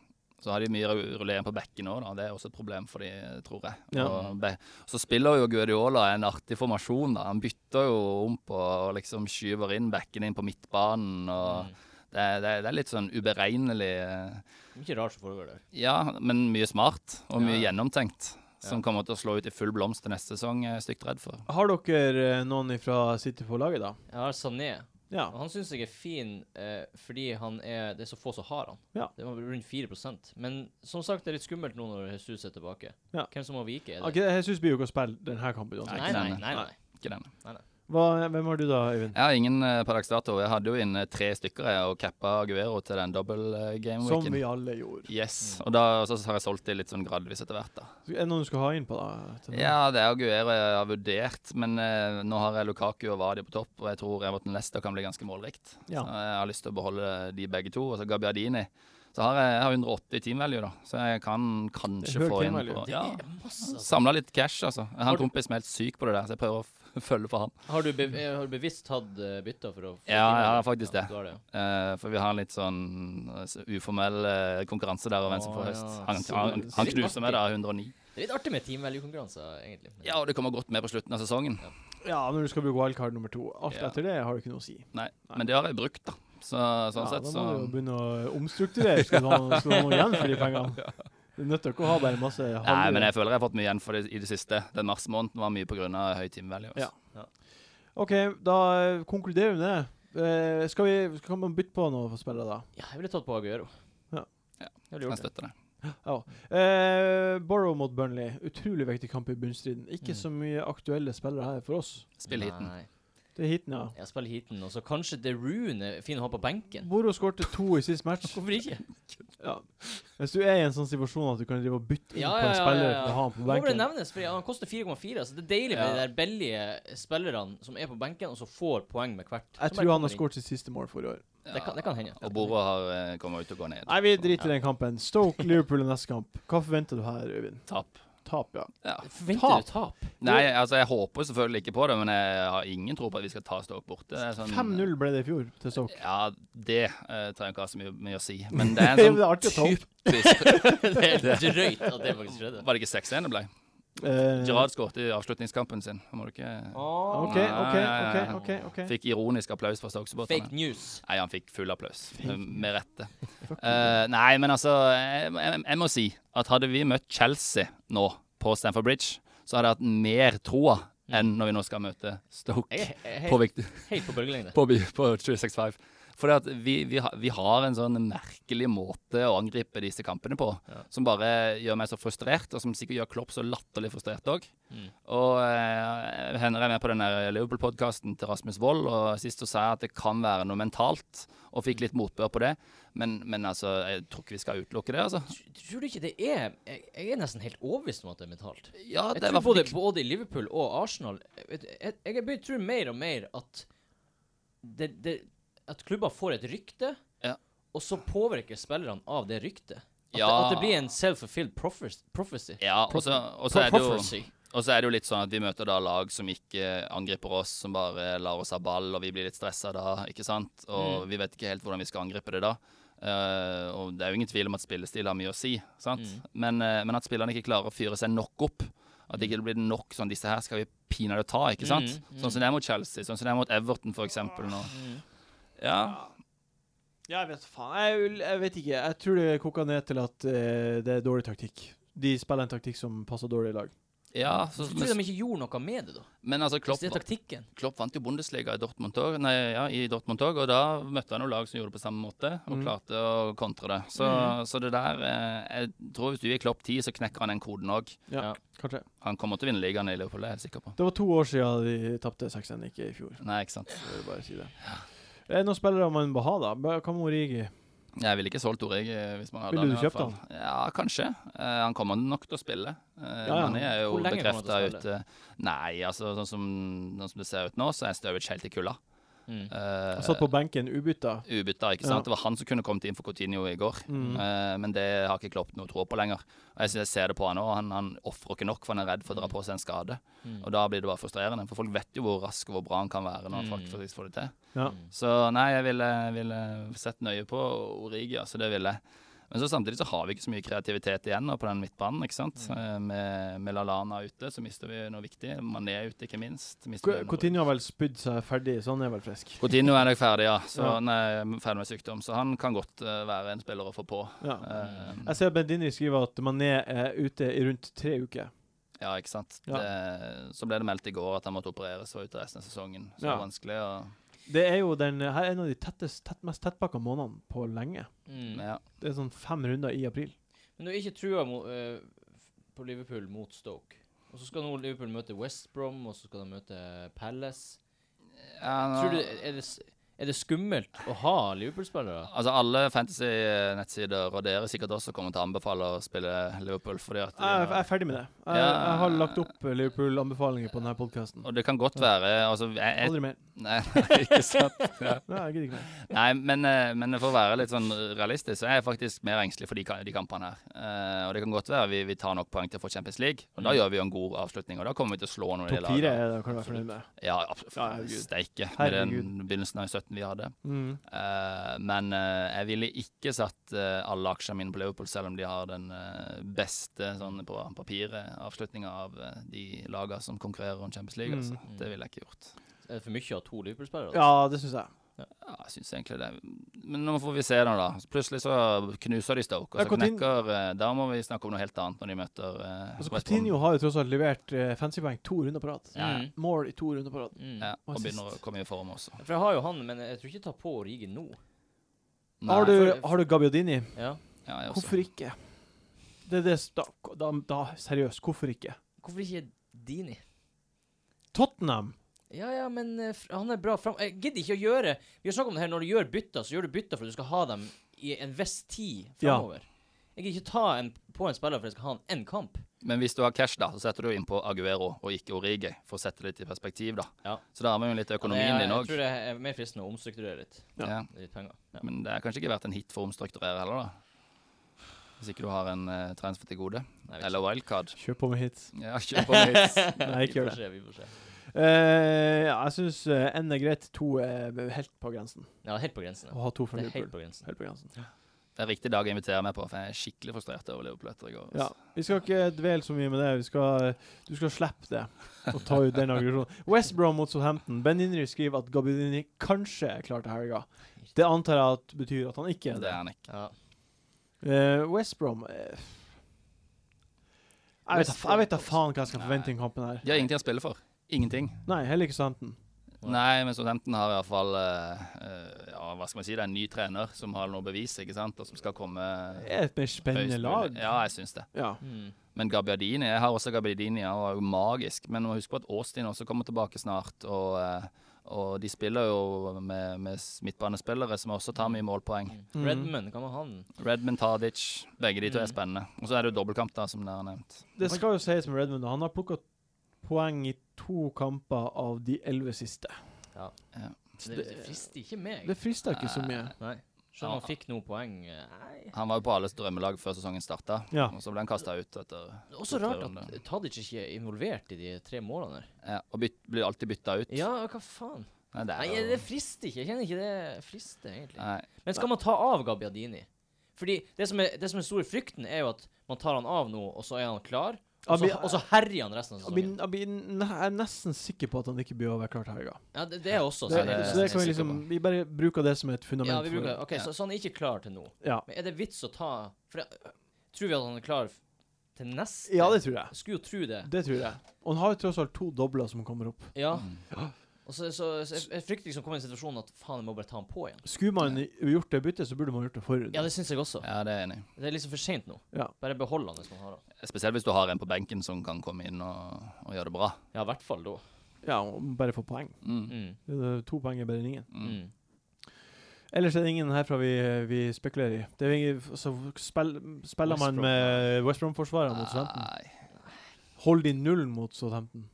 Speaker 4: så har de mye ru- rullering på bekken òg, da. Det er også et problem for de, tror jeg.
Speaker 1: Ja.
Speaker 4: Og be- så spiller jo Guardiola en artig formasjon, da. Han bytter jo om på og liksom skyver inn bekken inn på midtbanen. og
Speaker 2: Mm.
Speaker 4: det, er- det, er- det er litt sånn uberegnelig eh,
Speaker 2: Mye rart som foregår der.
Speaker 4: Ja, men mye smart og mye
Speaker 2: Ja.
Speaker 4: gjennomtenkt. Som
Speaker 2: Ja.
Speaker 4: kommer til å slå ut i full blomst til neste sesong, er jeg stygt redd for.
Speaker 1: Har dere eh, noen fra City på laget, da?
Speaker 2: Jeg har Sané,
Speaker 1: Ja.
Speaker 2: og han syns jeg er fin eh, fordi han er Det er så få som har han.
Speaker 1: Ja.
Speaker 2: Det var rundt 4 Men som sagt, det er litt skummelt nå når Jesus er tilbake.
Speaker 1: Ja.
Speaker 2: Hvem som må vike? Er
Speaker 1: Ok,
Speaker 2: det?
Speaker 1: Jeg syns blir jo ikke å spille denne kampen uansett.
Speaker 2: Nei, nei,
Speaker 4: ikke denne.
Speaker 2: nei, nei.
Speaker 4: Ikke den.
Speaker 1: Hva, hvem har du da, Øyvind?
Speaker 4: Jeg har ingen eh, per dags dato. Jeg hadde jo inne tre stykker jeg, og cappa Aguero til den dobbel
Speaker 1: Som
Speaker 4: game-weeken.
Speaker 1: vi alle gjorde.
Speaker 4: Yes,
Speaker 2: Mm.
Speaker 4: og da, så har jeg solgt de litt sånn gradvis etter hvert, da.
Speaker 1: Så Er det noen du skal ha inn på, da? til nå?
Speaker 4: Ja, det er Aguero jeg har vurdert, men eh, nå har jeg Lukaku og Vardi på topp, og jeg tror Everton Leicester kan bli ganske målrikt.
Speaker 1: Ja.
Speaker 4: Så jeg har lyst til å beholde de begge to, og så Gabiadini. Så har jeg, jeg har 180 i team value, da, så jeg kan
Speaker 1: Det er
Speaker 4: kanskje
Speaker 1: høy
Speaker 4: få
Speaker 1: team
Speaker 4: inn
Speaker 1: value.
Speaker 4: på
Speaker 2: Det
Speaker 4: Ja,
Speaker 2: er masse. altså.
Speaker 4: samla litt cash, altså. Jeg har
Speaker 2: Har
Speaker 4: en
Speaker 2: du-
Speaker 4: kompis som er helt syk på det der, så jeg prøver å f- følge for han.
Speaker 2: Har du, bev- eh, har du bevisst tatt eh, bytter for å få
Speaker 4: Ja, jeg har
Speaker 2: timer?
Speaker 4: faktisk
Speaker 2: Ja,
Speaker 4: det.
Speaker 2: du har det. ja.
Speaker 4: Eh, for vi har en litt sånn altså, uformell eh, konkurranse der om hvem som
Speaker 2: Å,
Speaker 4: får
Speaker 2: ja.
Speaker 4: høst. Han, han,
Speaker 1: Så-
Speaker 4: han knuser meg da 109.
Speaker 2: Det er litt artig med teamvalue-konkurranser, egentlig. Men-
Speaker 4: Ja, og det kommer godt med på slutten av sesongen.
Speaker 1: ja, når du skal bruke wildcard nummer to. Alt
Speaker 4: sånn. Ja.
Speaker 1: etter det har du ikke noe å si.
Speaker 4: Nei, men det har jeg brukt, da. Så, sånn
Speaker 1: ja,
Speaker 4: sett,
Speaker 1: da
Speaker 4: så
Speaker 1: må du jo begynne å omstrukturere. Skal du ha, skal du ha noe igjen for de pengene? Du er nødt til ikke å ha bare masse
Speaker 4: Nei,
Speaker 1: halve-
Speaker 4: men jeg føler jeg har fått mye igjen for det i det siste. Den mars måneden var mye pga. høy timevalue. altså.
Speaker 1: Ja. OK, da eh, konkluderer vi med det. Eh, skal vi skal man bytte på noe for spillere, da?
Speaker 2: Ja, jeg ville tatt på Aguero.
Speaker 1: Ja.
Speaker 4: Ja.
Speaker 2: Jeg ville
Speaker 4: Jeg
Speaker 2: gjort det.
Speaker 4: støtter det.
Speaker 1: Eh, Borough mot Burnley. Utrolig viktig kamp i bunnstriden. Ikke
Speaker 2: Mm.
Speaker 1: så mye aktuelle spillere her for oss.
Speaker 4: Spill hiten.
Speaker 2: Nei,
Speaker 1: Det er heaten, ja.
Speaker 2: jeg spiller heaten, og så kanskje The Rune er fin å ha på benken.
Speaker 1: Borough skårte to i sist match.
Speaker 2: Hvorfor ikke?
Speaker 1: Ja. Hvis du er i en sånn situasjon at du kan drive og bytte inn
Speaker 2: Ja,
Speaker 1: på en
Speaker 2: ja, ja,
Speaker 1: spiller
Speaker 2: ja, ja.
Speaker 1: for å ha han på
Speaker 2: Må bare
Speaker 1: benken
Speaker 2: nevnes, for han koster 4,4, så det er deilig med
Speaker 4: Ja.
Speaker 2: de der billige spillerne som er på benken, og så får poeng med hvert.
Speaker 1: Jeg
Speaker 2: Som
Speaker 1: tror han
Speaker 2: bare
Speaker 1: har
Speaker 2: kommer inn.
Speaker 1: skåret sitt siste mål for i år.
Speaker 2: Det kan, det kan hende.
Speaker 4: Og bordet har eh, kommet ut og går ned.
Speaker 1: Nei, vi driter i den kampen. Stoke Liverpool i neste kamp. Hva forventer du her, Øyvind?
Speaker 4: Tap.
Speaker 1: Tap, ja.
Speaker 4: Ja.
Speaker 2: Forventer du tap?
Speaker 4: Nei, altså, jeg håper selvfølgelig ikke på det, men jeg har ingen tro på at vi skal ta Stoke borte. Det er sånn-
Speaker 2: eh,
Speaker 1: 5-0 ble det i fjor til Stoke.
Speaker 4: Ja, det uh, trenger jeg ikke ha så mye, mye å si. Men det er
Speaker 1: Det
Speaker 4: en
Speaker 1: er
Speaker 4: sånn
Speaker 1: artig å ta opp.
Speaker 4: typisk
Speaker 2: Det er drøyt at det faktisk skjedde.
Speaker 4: Var det ikke 6-1 det ble?
Speaker 1: Eh,
Speaker 4: Gerard skåret i avslutningskampen sin. Må du ikke
Speaker 1: Ah.
Speaker 2: Ah,
Speaker 1: OK, OK, OK. ok, ok.
Speaker 4: Fikk ironisk applaus fra
Speaker 2: Fake
Speaker 4: Stoke-supporterne.
Speaker 2: news.
Speaker 4: Nei, han fikk full applaus. Med rette.
Speaker 1: Fuck.
Speaker 4: Eh, nei, men altså jeg, jeg, jeg må si at hadde vi møtt Chelsea nå på Stamford Bridge, så hadde jeg hatt mer troa enn når vi nå skal møte Stoke
Speaker 2: Mm. Jeg er
Speaker 4: på,
Speaker 2: helt,
Speaker 4: vikt-
Speaker 2: helt på bølgelengde.
Speaker 4: på, by- på 365. Fordi at vi, vi, ha- vi har en sånn merkelig måte å angripe disse kampene på,
Speaker 2: Ja.
Speaker 4: som bare gjør meg så frustrert, og som sikkert gjør Klopp så latterlig frustrert òg.
Speaker 2: Mm.
Speaker 4: Og eh, hender jeg med på den der Liverpool-podkasten til Rasmus Wold, og sist så sa jeg at det kan være noe mentalt, og fikk litt motbør på det. Men, men altså, jeg tror ikke vi skal utelukke det, altså.
Speaker 2: Tr- Tror du ikke det er jeg, jeg er nesten helt overbevist om at det er mentalt.
Speaker 4: Ja,
Speaker 2: Jeg tror
Speaker 4: det er i hvert fall
Speaker 2: både,
Speaker 4: ikke-
Speaker 2: både i Liverpool og Arsenal Jeg, jeg, jeg begynner å tro mer og mer at det, det, at klubber får et rykte,
Speaker 4: Ja.
Speaker 2: og så påvirker spillerne av det ryktet. At, det,
Speaker 4: Ja.
Speaker 2: at det blir en self-fulfilled prophes- prophecy.
Speaker 4: Ja, og så og så er det jo
Speaker 2: Prophecy.
Speaker 4: Og så er det jo litt sånn at vi møter da lag som ikke angriper oss, som bare lar oss ha ball, og vi blir litt stressa da, ikke sant? Og
Speaker 2: Mm.
Speaker 4: vi vet ikke helt hvordan vi skal angripe det da. Eh, og det er jo ingen tvil om at spillestil har mye å si, sant?
Speaker 2: Mm.
Speaker 4: Men, eh, men at spillerne ikke klarer å fyre seg nok opp. At det ikke blir nok sånn Disse her skal vi pinadø ta, ikke sant?
Speaker 2: Mm, mm.
Speaker 4: Sånn som det er mot Chelsea, sånn som det er mot Everton for eksempel nå.
Speaker 2: Mm.
Speaker 4: Ja.
Speaker 1: Ja, jeg vet faen. Jeg, vil- jeg vet ikke. Jeg tror det koker ned til at eh, det er dårlig taktikk. De spiller en taktikk som passer dårlig i lag.
Speaker 4: ja så,
Speaker 2: Jeg tror
Speaker 4: men,
Speaker 2: de ikke gjorde noe med det, da.
Speaker 4: men altså,
Speaker 2: Hvis
Speaker 4: Klopp,
Speaker 2: det er taktikken.
Speaker 4: Klopp vant jo Bundesliga i Dortmund òg, nei, ja, i Dortmund også, og da møtte han jo lag som gjorde det på samme måte, og
Speaker 1: Mm.
Speaker 4: klarte å kontre det. Så, så det der eh, Jeg tror hvis du gir Klopp 10, så knekker han den koden òg.
Speaker 1: Ja,
Speaker 2: Ja.
Speaker 1: kanskje.
Speaker 4: Han kommer til å vinne ligaen i Liverpool, det er jeg helt sikker på.
Speaker 1: Det var to år siden de tapte 6-1, ikke i fjor.
Speaker 4: Nei, ikke sant.
Speaker 1: Så jeg vil bare si det. Er det noen spillere man må ha, da? Bare- Hva med Origi?
Speaker 4: Jeg ville ikke solgt Oreg hvis man hadde
Speaker 1: Ville du
Speaker 4: i hvert
Speaker 1: kjøpt
Speaker 4: fall. Ja, kanskje. Eh, han kommer nok til å spille. Eh,
Speaker 1: Ja, ja.
Speaker 4: Han er jo
Speaker 2: Hvor lenge kommer han til
Speaker 4: bekrefta
Speaker 2: å
Speaker 4: ute. Nei, altså sånn som, sånn som det ser ut nå, så er Sturridge helt i kulda.
Speaker 2: Mm.
Speaker 1: Han
Speaker 4: Eh,
Speaker 1: satt på benken ubytta.
Speaker 4: Ubytta, ikke
Speaker 1: Ja.
Speaker 4: sant. Det var han som kunne kommet inn for Coutinho i går.
Speaker 1: Mm.
Speaker 4: Eh, men det har ikke Klopp noe tro på lenger. Og jeg, synes jeg ser det på han òg. Han, han ofrer ikke nok, for han er redd for å dra på seg en skade.
Speaker 2: Mm.
Speaker 4: Og da blir det bare frustrerende, for folk vet jo hvor rask og hvor bra han kan være når han
Speaker 2: Mm.
Speaker 4: faktisk får det til.
Speaker 1: Ja.
Speaker 4: Så nei, jeg ville, ville sett nøye på Origi, altså det ville jeg. Men så samtidig så har vi ikke så mye kreativitet igjen nå på den midtbanen. ikke sant?
Speaker 1: Mm.
Speaker 4: Eh, Med, med Lallana ute så mister vi noe viktig. Mané ute, ikke minst. mister vi
Speaker 1: Co-
Speaker 4: noe-
Speaker 1: Coutinho har vel spydd seg ferdig, så han er vel frisk.
Speaker 4: Coutinho er nok ferdig, ja. Så
Speaker 1: Ja.
Speaker 4: han er ferdig med sykdom. Så han kan godt eh, være en spiller å få på.
Speaker 1: Ja.
Speaker 4: Eh,
Speaker 1: Jeg ser Bendini skriver at Mané er ute i rundt tre uker.
Speaker 4: Ja, ikke sant.
Speaker 1: Ja.
Speaker 4: Det, så ble det meldt i går at han måtte opereres og var ute resten av sesongen. Så det
Speaker 1: Ja.
Speaker 4: var vanskelig å
Speaker 1: Det er jo den, her er en av de tettest, tett, mest tettpakka månedene på lenge.
Speaker 2: Mm.
Speaker 4: ja.
Speaker 1: Det er sånn fem runder i april.
Speaker 2: Men du har ikke trua mo- eh, på Liverpool mot Stoke. Og så skal nå Liverpool møte West Brom, og så skal de møte Palace.
Speaker 4: ja nå,
Speaker 2: Tror du, er, det, s- er det skummelt å ha Liverpool-spillere?
Speaker 4: Altså Alle fantasy-nettsider og dere sikkert også kommer til å anbefale å spille Liverpool. fordi at de
Speaker 1: Jeg, jeg
Speaker 4: har-
Speaker 1: er ferdig med det. Jeg,
Speaker 4: Ja.
Speaker 1: jeg har lagt opp eh, Liverpool-anbefalinger på denne podkasten.
Speaker 4: Og det kan godt være altså, jeg, jeg,
Speaker 1: Aldri mer.
Speaker 4: nei, ikke sant? Ja.
Speaker 1: Nei, jeg gidder ikke mer.
Speaker 4: Nei, men, eh, men for å være litt sånn realistisk, så er jeg faktisk mer engstelig for de, ka- de kampene her. Eh, og det kan godt være vi, vi tar nok poeng til å få Champions League, og da
Speaker 2: Mm.
Speaker 4: gjør vi jo en god avslutning. Og da kommer vi til å slå noen av de
Speaker 1: Topp fire
Speaker 4: lagene.
Speaker 1: er det, kan du være fornøyd med.
Speaker 4: Ja, absolutt.
Speaker 1: Ja, herregud.
Speaker 4: Steike. Med den
Speaker 1: Herregud.
Speaker 4: begynnelsen av 17 vi hadde.
Speaker 1: Mm.
Speaker 4: Eh, men eh, jeg ville ikke satt eh, alle aksjene mine på Liverpool, selv om de har den eh, beste sånn på papiret avslutninga av eh, de lagene som konkurrerer om Champions League.
Speaker 1: Mm.
Speaker 4: Altså. Det ville jeg ikke gjort.
Speaker 2: Er det for mye å ha to Liverpool-spillere? da?
Speaker 1: Ja, det syns jeg.
Speaker 4: Ja, jeg synes egentlig det. Men nå får vi se nå, da. Plutselig så knuser de Stoke, og
Speaker 1: Ja,
Speaker 4: så
Speaker 1: Coutinho-
Speaker 4: knekker eh, Da må vi snakke om noe helt annet når de møter eh,
Speaker 1: Altså,
Speaker 4: West Brom.
Speaker 1: Coutinho har jo tross alt levert eh, fancypoeng to runder på rad.
Speaker 4: Ja.
Speaker 2: Mm.
Speaker 1: Mål i to runder på rad.
Speaker 2: Mm.
Speaker 4: Ja,
Speaker 1: Og
Speaker 4: og begynner
Speaker 1: assist.
Speaker 4: å komme i form også.
Speaker 2: For jeg har jo han, men jeg tror ikke jeg tar på Origi nå.
Speaker 1: Har
Speaker 4: Nei.
Speaker 1: du, har du Gabbiadini?
Speaker 2: Ja.
Speaker 4: ja, jeg også.
Speaker 1: Hvorfor ikke? Det er det s- da, da, da Seriøst, hvorfor ikke?
Speaker 2: Hvorfor ikke Dini?
Speaker 1: Tottenham!
Speaker 2: Ja, ja, men eh, fr- han er bra fram... Jeg gidder ikke å gjøre Vi har snakket om det her, når du gjør bytter, så gjør du bytter for at du skal ha dem i en viss tid
Speaker 1: Ja.
Speaker 2: framover. Jeg gidder ikke ta en, på en spiller for at jeg skal ha han én kamp.
Speaker 4: Men hvis du har cash, da, så setter du inn på Aguero og ikke Origi, for å sette det litt i perspektiv, da.
Speaker 2: Ja.
Speaker 4: Så da har vi jo litt økonomien
Speaker 2: Ja,
Speaker 4: din
Speaker 2: jeg
Speaker 4: òg.
Speaker 2: tror det er mer fristende å omstrukturere litt.
Speaker 1: Ja.
Speaker 4: Ja.
Speaker 2: Litt penger. Ja.
Speaker 4: Men det er kanskje ikke vært en hit for å omstrukturere heller, da. Hvis ikke du har en eh, transfer til gode.
Speaker 2: Nei,
Speaker 4: Eller wildcard.
Speaker 1: Kjør på med hits.
Speaker 4: Ja, kjør på med hits.
Speaker 1: Nei,
Speaker 2: vi
Speaker 1: ikke gjør det.
Speaker 2: får se. Vi får se.
Speaker 1: Eh, ja, jeg syns én er greit, to er helt på grensen.
Speaker 2: Ja, helt på grensen.
Speaker 1: Å
Speaker 2: Ja.
Speaker 1: ha to fra
Speaker 2: Det er helt
Speaker 1: Liverpool.
Speaker 2: på grensen.
Speaker 1: Helt på grensen.
Speaker 4: Det er riktig dag å invitere meg på, for jeg er skikkelig frustrert over Liverpool etter i går.
Speaker 1: Ja.
Speaker 4: altså.
Speaker 1: Vi skal ikke dvele så mye med det. Vi skal, du skal slippe det og ta ut den aggresjonen. West Brom mot Southampton. Ben Inri skriver at Gabbiadini kanskje er klar til helga. Det antar jeg at betyr at han ikke er
Speaker 4: Det
Speaker 1: det.
Speaker 4: er han ikke.
Speaker 2: Ja.
Speaker 1: Eh, West Brom eh, jeg, vet, da
Speaker 2: West
Speaker 1: fa- jeg vet da
Speaker 2: Brom-
Speaker 1: faen hva jeg skal
Speaker 4: Nei.
Speaker 1: forvente i den kampen her.
Speaker 4: De har ingenting å spille for. Ingenting.
Speaker 1: Nei, heller ikke Southampton.
Speaker 4: Nei, men Southampton har i hvert fall eh, eh, ja, hva skal man si, det er en ny trener som har noe bevis, ikke sant, og som skal komme
Speaker 1: Det er et mer spennende
Speaker 4: høyest mulig.
Speaker 1: lag.
Speaker 4: Ja, jeg syns det.
Speaker 1: Ja.
Speaker 2: Mm.
Speaker 4: Men Gabbiadini, jeg har også Gabbiadini, han var jo magisk. Men må huske på at Austin også kommer tilbake snart, og, eh, og de spiller jo med, med s- midtbanespillere som også tar mye målpoeng.
Speaker 1: Mm.
Speaker 2: Redmond, hva med han?
Speaker 4: Redmond, Tadic, begge de to er
Speaker 2: Mm.
Speaker 4: spennende. Og så er det jo dobbeltkamp, da, som dere har nevnt.
Speaker 1: Det skal jo sies med Redmond, han har plukka poeng i to kamper av de elleve siste.
Speaker 2: Det,
Speaker 1: det-
Speaker 2: det frister ikke meg.
Speaker 1: Det frister ikke så mye.
Speaker 2: Nei. Selv om han fikk noen poeng. eh, Nei.
Speaker 4: Han var jo på alles drømmelag før sesongen starta,
Speaker 1: Ja.
Speaker 4: og så ble han kasta ut etter
Speaker 2: Det er også
Speaker 4: to-tre
Speaker 2: rart
Speaker 4: runder.
Speaker 2: at Tadic ikke er involvert i de tre målene der.
Speaker 4: Ja, og byt, blir alltid bytta ut.
Speaker 2: Ja, hva faen?
Speaker 4: Nei, det
Speaker 2: Nei,
Speaker 4: er jo
Speaker 2: det frister ikke. Jeg kjenner ikke det frister, egentlig.
Speaker 4: Nei.
Speaker 2: Men skal man ta av Gabbiadini? Fordi det som er, det som er store frykten, er jo at man tar han av nå, og så er han klar, og så,
Speaker 1: Abi-
Speaker 2: og så herjer han resten av
Speaker 1: Jeg blir-
Speaker 2: sesongen.
Speaker 1: jeg blir ne- jeg er nesten sikker på at han ikke blir å være klar til helga.
Speaker 2: Ja, det, det er også sånn.
Speaker 1: Det,
Speaker 4: er det-
Speaker 1: så det kan vi
Speaker 4: jeg sikker
Speaker 1: liksom Vi bare bruker det som et fundament.
Speaker 2: Ja, vi bruker
Speaker 1: for,
Speaker 2: OK, så, så han er ikke klar til nå.
Speaker 1: ja.
Speaker 2: Men er det vits å ta For jeg, tror vi at han er klar f- til neste?
Speaker 1: ja, det tror jeg.
Speaker 2: Skulle jo tro det.
Speaker 1: Det tror jeg. Og han har jo tross alt to dobler som kommer opp.
Speaker 2: Ja.
Speaker 4: Mm.
Speaker 2: Og så, så, så jeg- jeg frykter liksom å komme i en situasjon at faen, jeg må bare ta han på igjen.
Speaker 1: Skulle man gjort det byttet, så burde man gjort det forut.
Speaker 2: Ja, det syns jeg også.
Speaker 4: Ja, det er jeg enig. i.
Speaker 2: Det er liksom for seint nå.
Speaker 1: Ja.
Speaker 2: Bare behold han hvis man har han.
Speaker 4: Spesielt hvis du har en på benken som kan komme inn og, og gjøre det bra.
Speaker 2: Ja, i hvert fall da.
Speaker 1: Ja, og bare få poeng.
Speaker 4: Mm.
Speaker 2: Mm.
Speaker 1: Det er To poeng er bedre enn ingen.
Speaker 4: Mm.
Speaker 2: Mm.
Speaker 1: Ellers er det ingen herfra vi, vi spekulerer i. Det er ingen, så spill, spiller
Speaker 2: West
Speaker 1: man
Speaker 2: Brom. Ah.
Speaker 1: med West Brom-forsvarerne mot Southampton.
Speaker 4: Nei,
Speaker 1: Hold de nullen mot Southampton.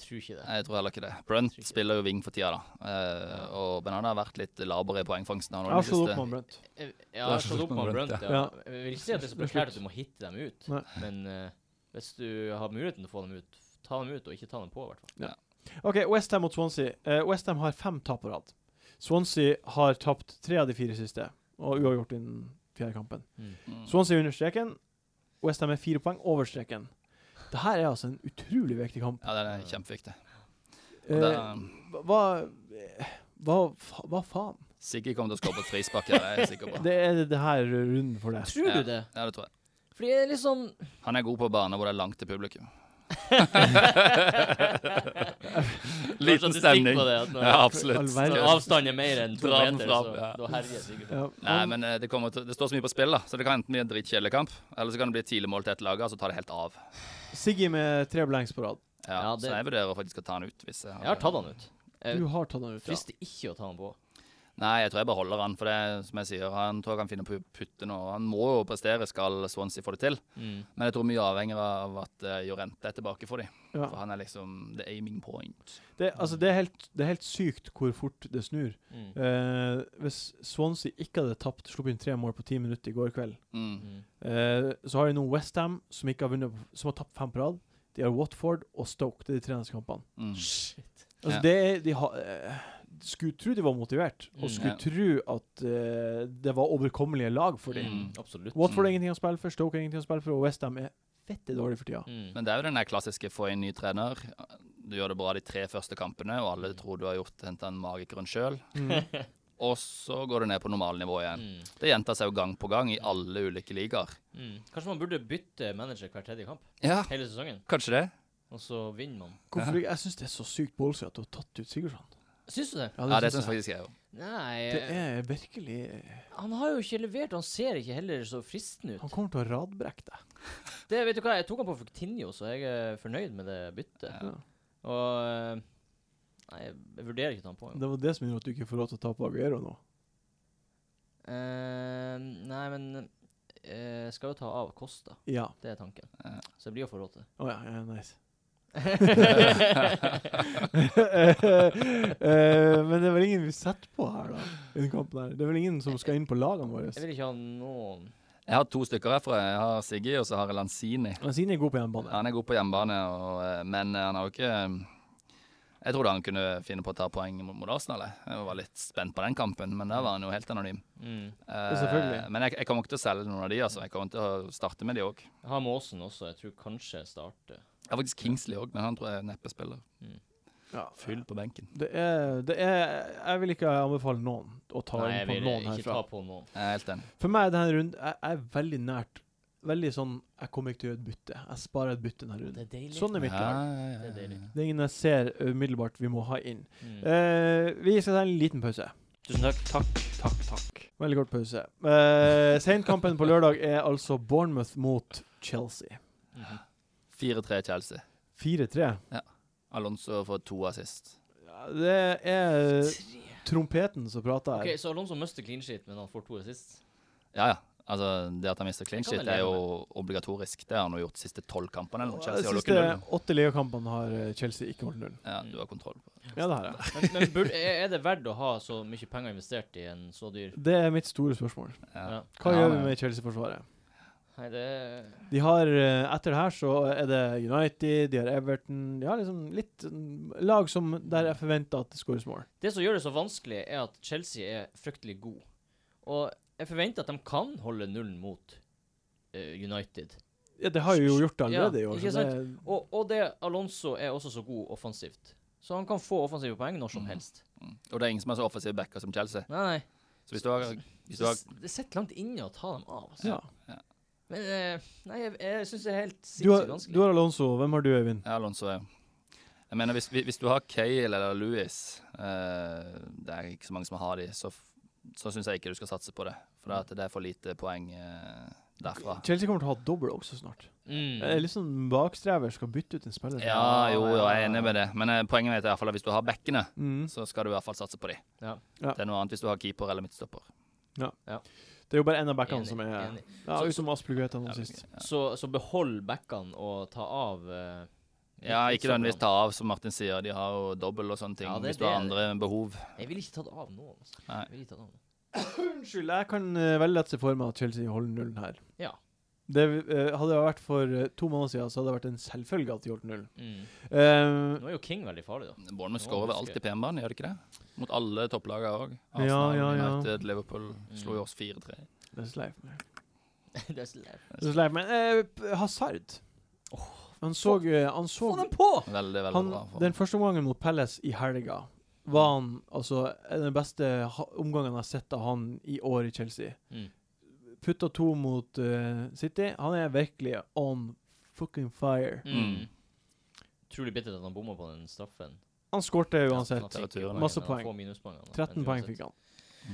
Speaker 2: Jeg tror ikke det.
Speaker 4: jeg tror heller ikke det. Brunt spiller jo wing for tida, da. Eh, og men han har vært litt laber i poengfangsten. Han,
Speaker 1: Jeg har
Speaker 4: også
Speaker 1: slått
Speaker 4: det
Speaker 1: opp med Brent.
Speaker 2: Jeg, jeg har
Speaker 4: så
Speaker 2: slått opp
Speaker 4: fort man
Speaker 2: med
Speaker 4: Brunt,
Speaker 2: Brunt, ja.
Speaker 1: ja.
Speaker 2: Jeg vil ikke si at det er så
Speaker 1: Det er
Speaker 2: prekært at
Speaker 1: slutt.
Speaker 2: du må hitte dem ut,
Speaker 1: Nei.
Speaker 2: men eh, hvis du har muligheten til å få dem ut, ta dem ut, og ikke ta dem på, i hvert fall.
Speaker 1: OK, Westham mot Swansea. Eh, Westham har fem tap på rad. Swansea har tapt tre av de fire siste, og uavgjort i den fjerde kampen.
Speaker 4: Mm.
Speaker 1: Swansea er under streken. Westham er fire poeng over streken. Det her er altså en utrolig viktig kamp.
Speaker 4: Ja, den er kjempeviktig. Og
Speaker 1: Eh,
Speaker 4: det-
Speaker 1: hva, hva, fa- hva faen?
Speaker 4: Siggy kommer til å skåre på et frispark her, det er jeg sikker på.
Speaker 1: Det er det her runden for det.
Speaker 2: Tror
Speaker 4: Ja.
Speaker 2: du det?
Speaker 4: Ja, det tror jeg.
Speaker 2: Fordi jeg er litt sånn
Speaker 4: Han er god på bane hvor det er langt til publikum. Liten stemning. Ja, absolutt.
Speaker 1: All verden.
Speaker 2: Når avstanden er mer enn to
Speaker 4: Dra den
Speaker 2: meter,
Speaker 4: fram,
Speaker 2: så
Speaker 4: ja.
Speaker 2: da herjer sikkert.
Speaker 1: Ja,
Speaker 4: Nei, men eh, det, kommer til, det står så mye på spill, da. Så det kan enten bli en dritkjedelig kamp, eller så kan det bli et tidlig mål til et lag, og så tar det helt av.
Speaker 1: Siggy med tre blanks på rad.
Speaker 4: Ja,
Speaker 2: Ja, det-
Speaker 4: Så jeg vurderer faktisk å ta han ut. Hvis jeg, har-
Speaker 2: Jeg har tatt han ut. Eh,
Speaker 1: Du har tatt han ut.
Speaker 2: Frister ikke å ta han på.
Speaker 4: Nei, jeg tror jeg beholder han. For det som jeg sier, han tror jeg kan finne på å putte nå. Han må jo prestere, skal Swansea få det til.
Speaker 2: Mm.
Speaker 4: Men jeg tror mye avhenger av at uh, Jorente er tilbake for dem.
Speaker 1: Ja.
Speaker 4: For han er liksom the aiming point.
Speaker 1: Det, altså, det, er helt, det er helt sykt hvor fort det snur.
Speaker 2: Mm.
Speaker 1: Eh, hvis Swansea ikke hadde tapt, sluppet inn tre mål på ti minutter i går kveld,
Speaker 4: Mm.
Speaker 2: Mm.
Speaker 1: eh, så har de nå Westham, som, ikke har vunnet- som har tapt fem på rad. De har Watford og Stoke. Det er de tre neste kampene.
Speaker 4: Mm.
Speaker 2: Shit.
Speaker 1: Altså,
Speaker 4: Ja.
Speaker 1: det er- de har eh, Skulle tro de var motivert,
Speaker 2: Mm.
Speaker 1: og skulle
Speaker 4: Ja.
Speaker 1: tro at eh, det var overkommelige lag for dem.
Speaker 2: Mm.
Speaker 4: Mm.
Speaker 2: Absolutt.
Speaker 1: Watford
Speaker 4: Mm.
Speaker 1: har ingenting å spille for, Stoke har ingenting å spille for, og Westham er fette dårlig for tida.
Speaker 2: Mm.
Speaker 4: Men det er jo den der klassiske få inn ny trener. Du gjør det bra de tre første kampene, og alle tror du har gjort henta en magikeren sjøl.
Speaker 1: Mm.
Speaker 4: Og så går det ned på normalnivå igjen.
Speaker 2: Mm.
Speaker 4: Det gjentar seg jo gang på gang i alle ulike ligaer.
Speaker 2: Mm. Kanskje man burde bytte manager hver tredje kamp
Speaker 4: Ja,
Speaker 2: hele sesongen,
Speaker 4: kanskje det.
Speaker 2: og så vinner man.
Speaker 1: Hvorfor ikke? Jeg syns det er så sykt ballsy at du har tatt ut Sigurdsson.
Speaker 2: Syns du det?
Speaker 4: Ja, det
Speaker 1: synes
Speaker 4: syns
Speaker 1: jeg.
Speaker 4: faktisk jeg òg.
Speaker 2: Nei,
Speaker 1: Det er virkelig
Speaker 2: han har jo ikke levert, og han ser ikke heller så fristende ut.
Speaker 1: Han kommer til å radbrekke deg.
Speaker 2: Det, vet du hva, Jeg tok han på Fortinio, så jeg er fornøyd med det byttet.
Speaker 4: Ja.
Speaker 2: Og eh, Nei, jeg jeg vurderer ikke å ta han på. engang.
Speaker 1: Det var det som gjorde at du ikke får lov til å ta på Aguero nå.
Speaker 2: Eh, nei, men eh, jeg skal jo ta av Kosta.
Speaker 1: Ja.
Speaker 2: Det er tanken.
Speaker 4: Ja.
Speaker 2: Så jeg blir å få råd til.
Speaker 1: Å ja, ja, nice.
Speaker 2: det
Speaker 1: Eh, men det er vel ingen vi setter på her, da. I den kampen her. Det er vel ingen som skal inn på lagene våre.
Speaker 2: Jeg vil ikke ha noen
Speaker 4: Jeg har to stykker herfra. Jeg har Siggy, og så har jeg Lanzini.
Speaker 1: Lanzini er god på hjemmebane.
Speaker 4: Han er god på hjemmebane, og, eh, men eh, han har jo ikke eh, Jeg trodde han kunne finne på å ta poeng mot mot Arsenal. jeg. Jeg var litt spent på den kampen, men der var han jo helt anonym.
Speaker 2: mm.
Speaker 4: Eh,
Speaker 1: selvfølgelig.
Speaker 4: Men jeg, jeg kommer ikke til å selge noen av de, altså. Jeg kommer til å starte med de òg. Jeg
Speaker 2: Ha Måsen også. Jeg tror kanskje jeg starter.
Speaker 4: har faktisk Kingsley òg, men han tror jeg neppe spiller.
Speaker 1: Ja.
Speaker 4: Fyll på benken.
Speaker 1: Det er, det er Jeg vil ikke anbefale noen å ta
Speaker 2: Nei,
Speaker 1: inn
Speaker 2: jeg
Speaker 1: på
Speaker 2: vil
Speaker 1: noen
Speaker 2: ikke ta
Speaker 1: herfra.
Speaker 2: på noen.
Speaker 4: Jeg er helt enig.
Speaker 1: For meg er denne runden Jeg jeg er veldig nært veldig sånn Jeg kommer ikke til å gjøre et bytte. Jeg sparer et bytte denne
Speaker 2: Det
Speaker 1: runden.
Speaker 2: er deilig.
Speaker 1: Sånn er mitt lag.
Speaker 4: ja,
Speaker 2: Det er deilig.
Speaker 1: Det er ingen jeg ser umiddelbart vi må ha inn.
Speaker 2: Mm.
Speaker 1: Eh, vi skal ta en liten pause.
Speaker 2: Tusen takk. Takk, takk, takk.
Speaker 1: Veldig kort pause. Uh, Seinkampen på lørdag er altså Bournemouth mot Chelsea.
Speaker 2: Mhm.
Speaker 4: 4-3 Chelsea.
Speaker 1: 4-3.
Speaker 4: Alonso får to assist.
Speaker 1: Ja, det er trompeten som prater her.
Speaker 2: Ok, Så Alonso mister clean sheet, men han får to assist.
Speaker 4: Ja, ja. Altså, Det at han mister clean
Speaker 2: Det kan
Speaker 4: shit,
Speaker 2: jeg
Speaker 4: er
Speaker 2: leve
Speaker 4: jo obligatorisk. Det har han jo gjort de siste tolv kampene. eller noe.
Speaker 1: De
Speaker 4: Chelsea har
Speaker 1: siste
Speaker 4: lukket null.
Speaker 1: åtte ligakampene har eh, Chelsea ikke holdt null.
Speaker 4: Ja, du har kontroll på det.
Speaker 1: Ja, det har jeg.
Speaker 2: Men, men burde, er er det verdt å ha så mye penger investert i en så dyr
Speaker 1: Det er mitt store spørsmål.
Speaker 2: Ja.
Speaker 1: Hva
Speaker 4: Ja,
Speaker 1: gjør vi
Speaker 4: men-
Speaker 1: med Chelsea-forsvaret?
Speaker 2: Nei, det er
Speaker 1: De har, eh, Etter det her så er det United, de har Everton De har liksom litt mm, lag som der jeg forventer at det skåres mål.
Speaker 2: Det som gjør det så vanskelig, er at Chelsea er fryktelig god. Og jeg forventer at de kan holde nullen mot eh, United.
Speaker 1: Ja, det har jo gjort det allerede i
Speaker 2: Ja,
Speaker 1: år.
Speaker 2: ikke
Speaker 1: Så det,
Speaker 2: Og, og det Alonso er også så god offensivt. Så han kan få offensive poeng når som
Speaker 4: Mhm.
Speaker 2: helst.
Speaker 4: Mm. Og det er ingen som er så offensive backer som Chelsea.
Speaker 2: Nei, nei.
Speaker 4: Så hvis du har, hvis du har
Speaker 2: Det- Det sitter langt inne å ta dem av. Altså.
Speaker 1: ja.
Speaker 2: Men eh, nei, jeg, jeg syns det er helt
Speaker 1: du, har,
Speaker 2: sinnssykt
Speaker 1: du
Speaker 2: vanskelig.
Speaker 1: har Alonso. Hvem har du, Øyvind?
Speaker 4: Ja, Alonso er Jeg mener, hvis, hvis du har Cale eller Louis eh, Det er ikke så mange som har de, så, f- så syns jeg ikke du skal satse på det. For det, at det er for lite poeng eh, derfra.
Speaker 1: Chelsea kommer til å ha dobbel også snart.
Speaker 2: Mm.
Speaker 1: Jeg er litt sånn bakstrever skal bytte ut en spiller.
Speaker 4: Ja, jo, jo, jeg er enig med det, men eh, poenget mitt er i hvert fall at hvis du har backene,
Speaker 1: Mm.
Speaker 4: så skal du i hvert fall satse på de.
Speaker 2: Ja.
Speaker 1: Ja.
Speaker 4: Det er noe annet hvis du har keeper eller midtstopper.
Speaker 1: Det er jo bare en av backene
Speaker 2: Enig,
Speaker 1: som er
Speaker 2: enig.
Speaker 1: Ja,
Speaker 2: Så-
Speaker 1: Utenom Aspelgueta nå
Speaker 4: Ja,
Speaker 1: sist.
Speaker 4: ja.
Speaker 2: Så, så behold backene og ta av eh, sånn.
Speaker 4: Ja, ikke
Speaker 2: midtstopperne.
Speaker 4: nødvendigvis ta av, som Martin sier. De har jo dobbel og sånne ting
Speaker 2: Ja, det er
Speaker 4: hvis du har
Speaker 2: det.
Speaker 4: andre behov.
Speaker 2: Jeg ville ikke tatt av noen. Altså.
Speaker 4: Nei.
Speaker 2: Jeg ville ikke tatt av noen.
Speaker 1: Unnskyld, jeg kan eh, veldig lett se for meg at Chelsea holder nullen her.
Speaker 2: Ja.
Speaker 1: Det eh, hadde det vært for eh, to måneder siden, så hadde det vært en selvfølge at de holdt nullen.
Speaker 2: Mm.
Speaker 1: Eh,
Speaker 2: Nå er jo King veldig farlig, da.
Speaker 4: Bournemouth
Speaker 2: Nå
Speaker 4: skårer vel
Speaker 2: husker
Speaker 4: alltid
Speaker 2: jeg.
Speaker 4: PM-banen, gjør det ikke det? Mot alle topplagene òg.
Speaker 1: Ja,
Speaker 4: Arsenal,
Speaker 1: ja, ja.
Speaker 4: United, Liverpool slo jo oss 4-3.
Speaker 1: det er sleip.
Speaker 2: det er så lett.
Speaker 1: Det er sleip. Men eh, p- Hazard Han så, eh, han så
Speaker 2: Få dem på!
Speaker 4: Veldig, veldig
Speaker 1: han,
Speaker 4: bra. for-
Speaker 1: Den første omgangen mot Palace i helga var han altså den beste ha omgangen jeg har sett av han i år i Chelsea.
Speaker 2: Mm.
Speaker 1: Putta to mot eh, City. Han er virkelig on fucking fire.
Speaker 4: Mm.
Speaker 2: Utrolig bittert at han bomma på den straffen.
Speaker 1: Han skårte
Speaker 2: Han
Speaker 1: uansett.
Speaker 2: fikk
Speaker 4: Temperatur,
Speaker 2: jo
Speaker 1: masse
Speaker 2: poeng, men han
Speaker 1: poeng.
Speaker 2: får minuspoengene, da.
Speaker 1: 13
Speaker 2: Men
Speaker 1: poeng
Speaker 2: uansett-
Speaker 1: fikk han.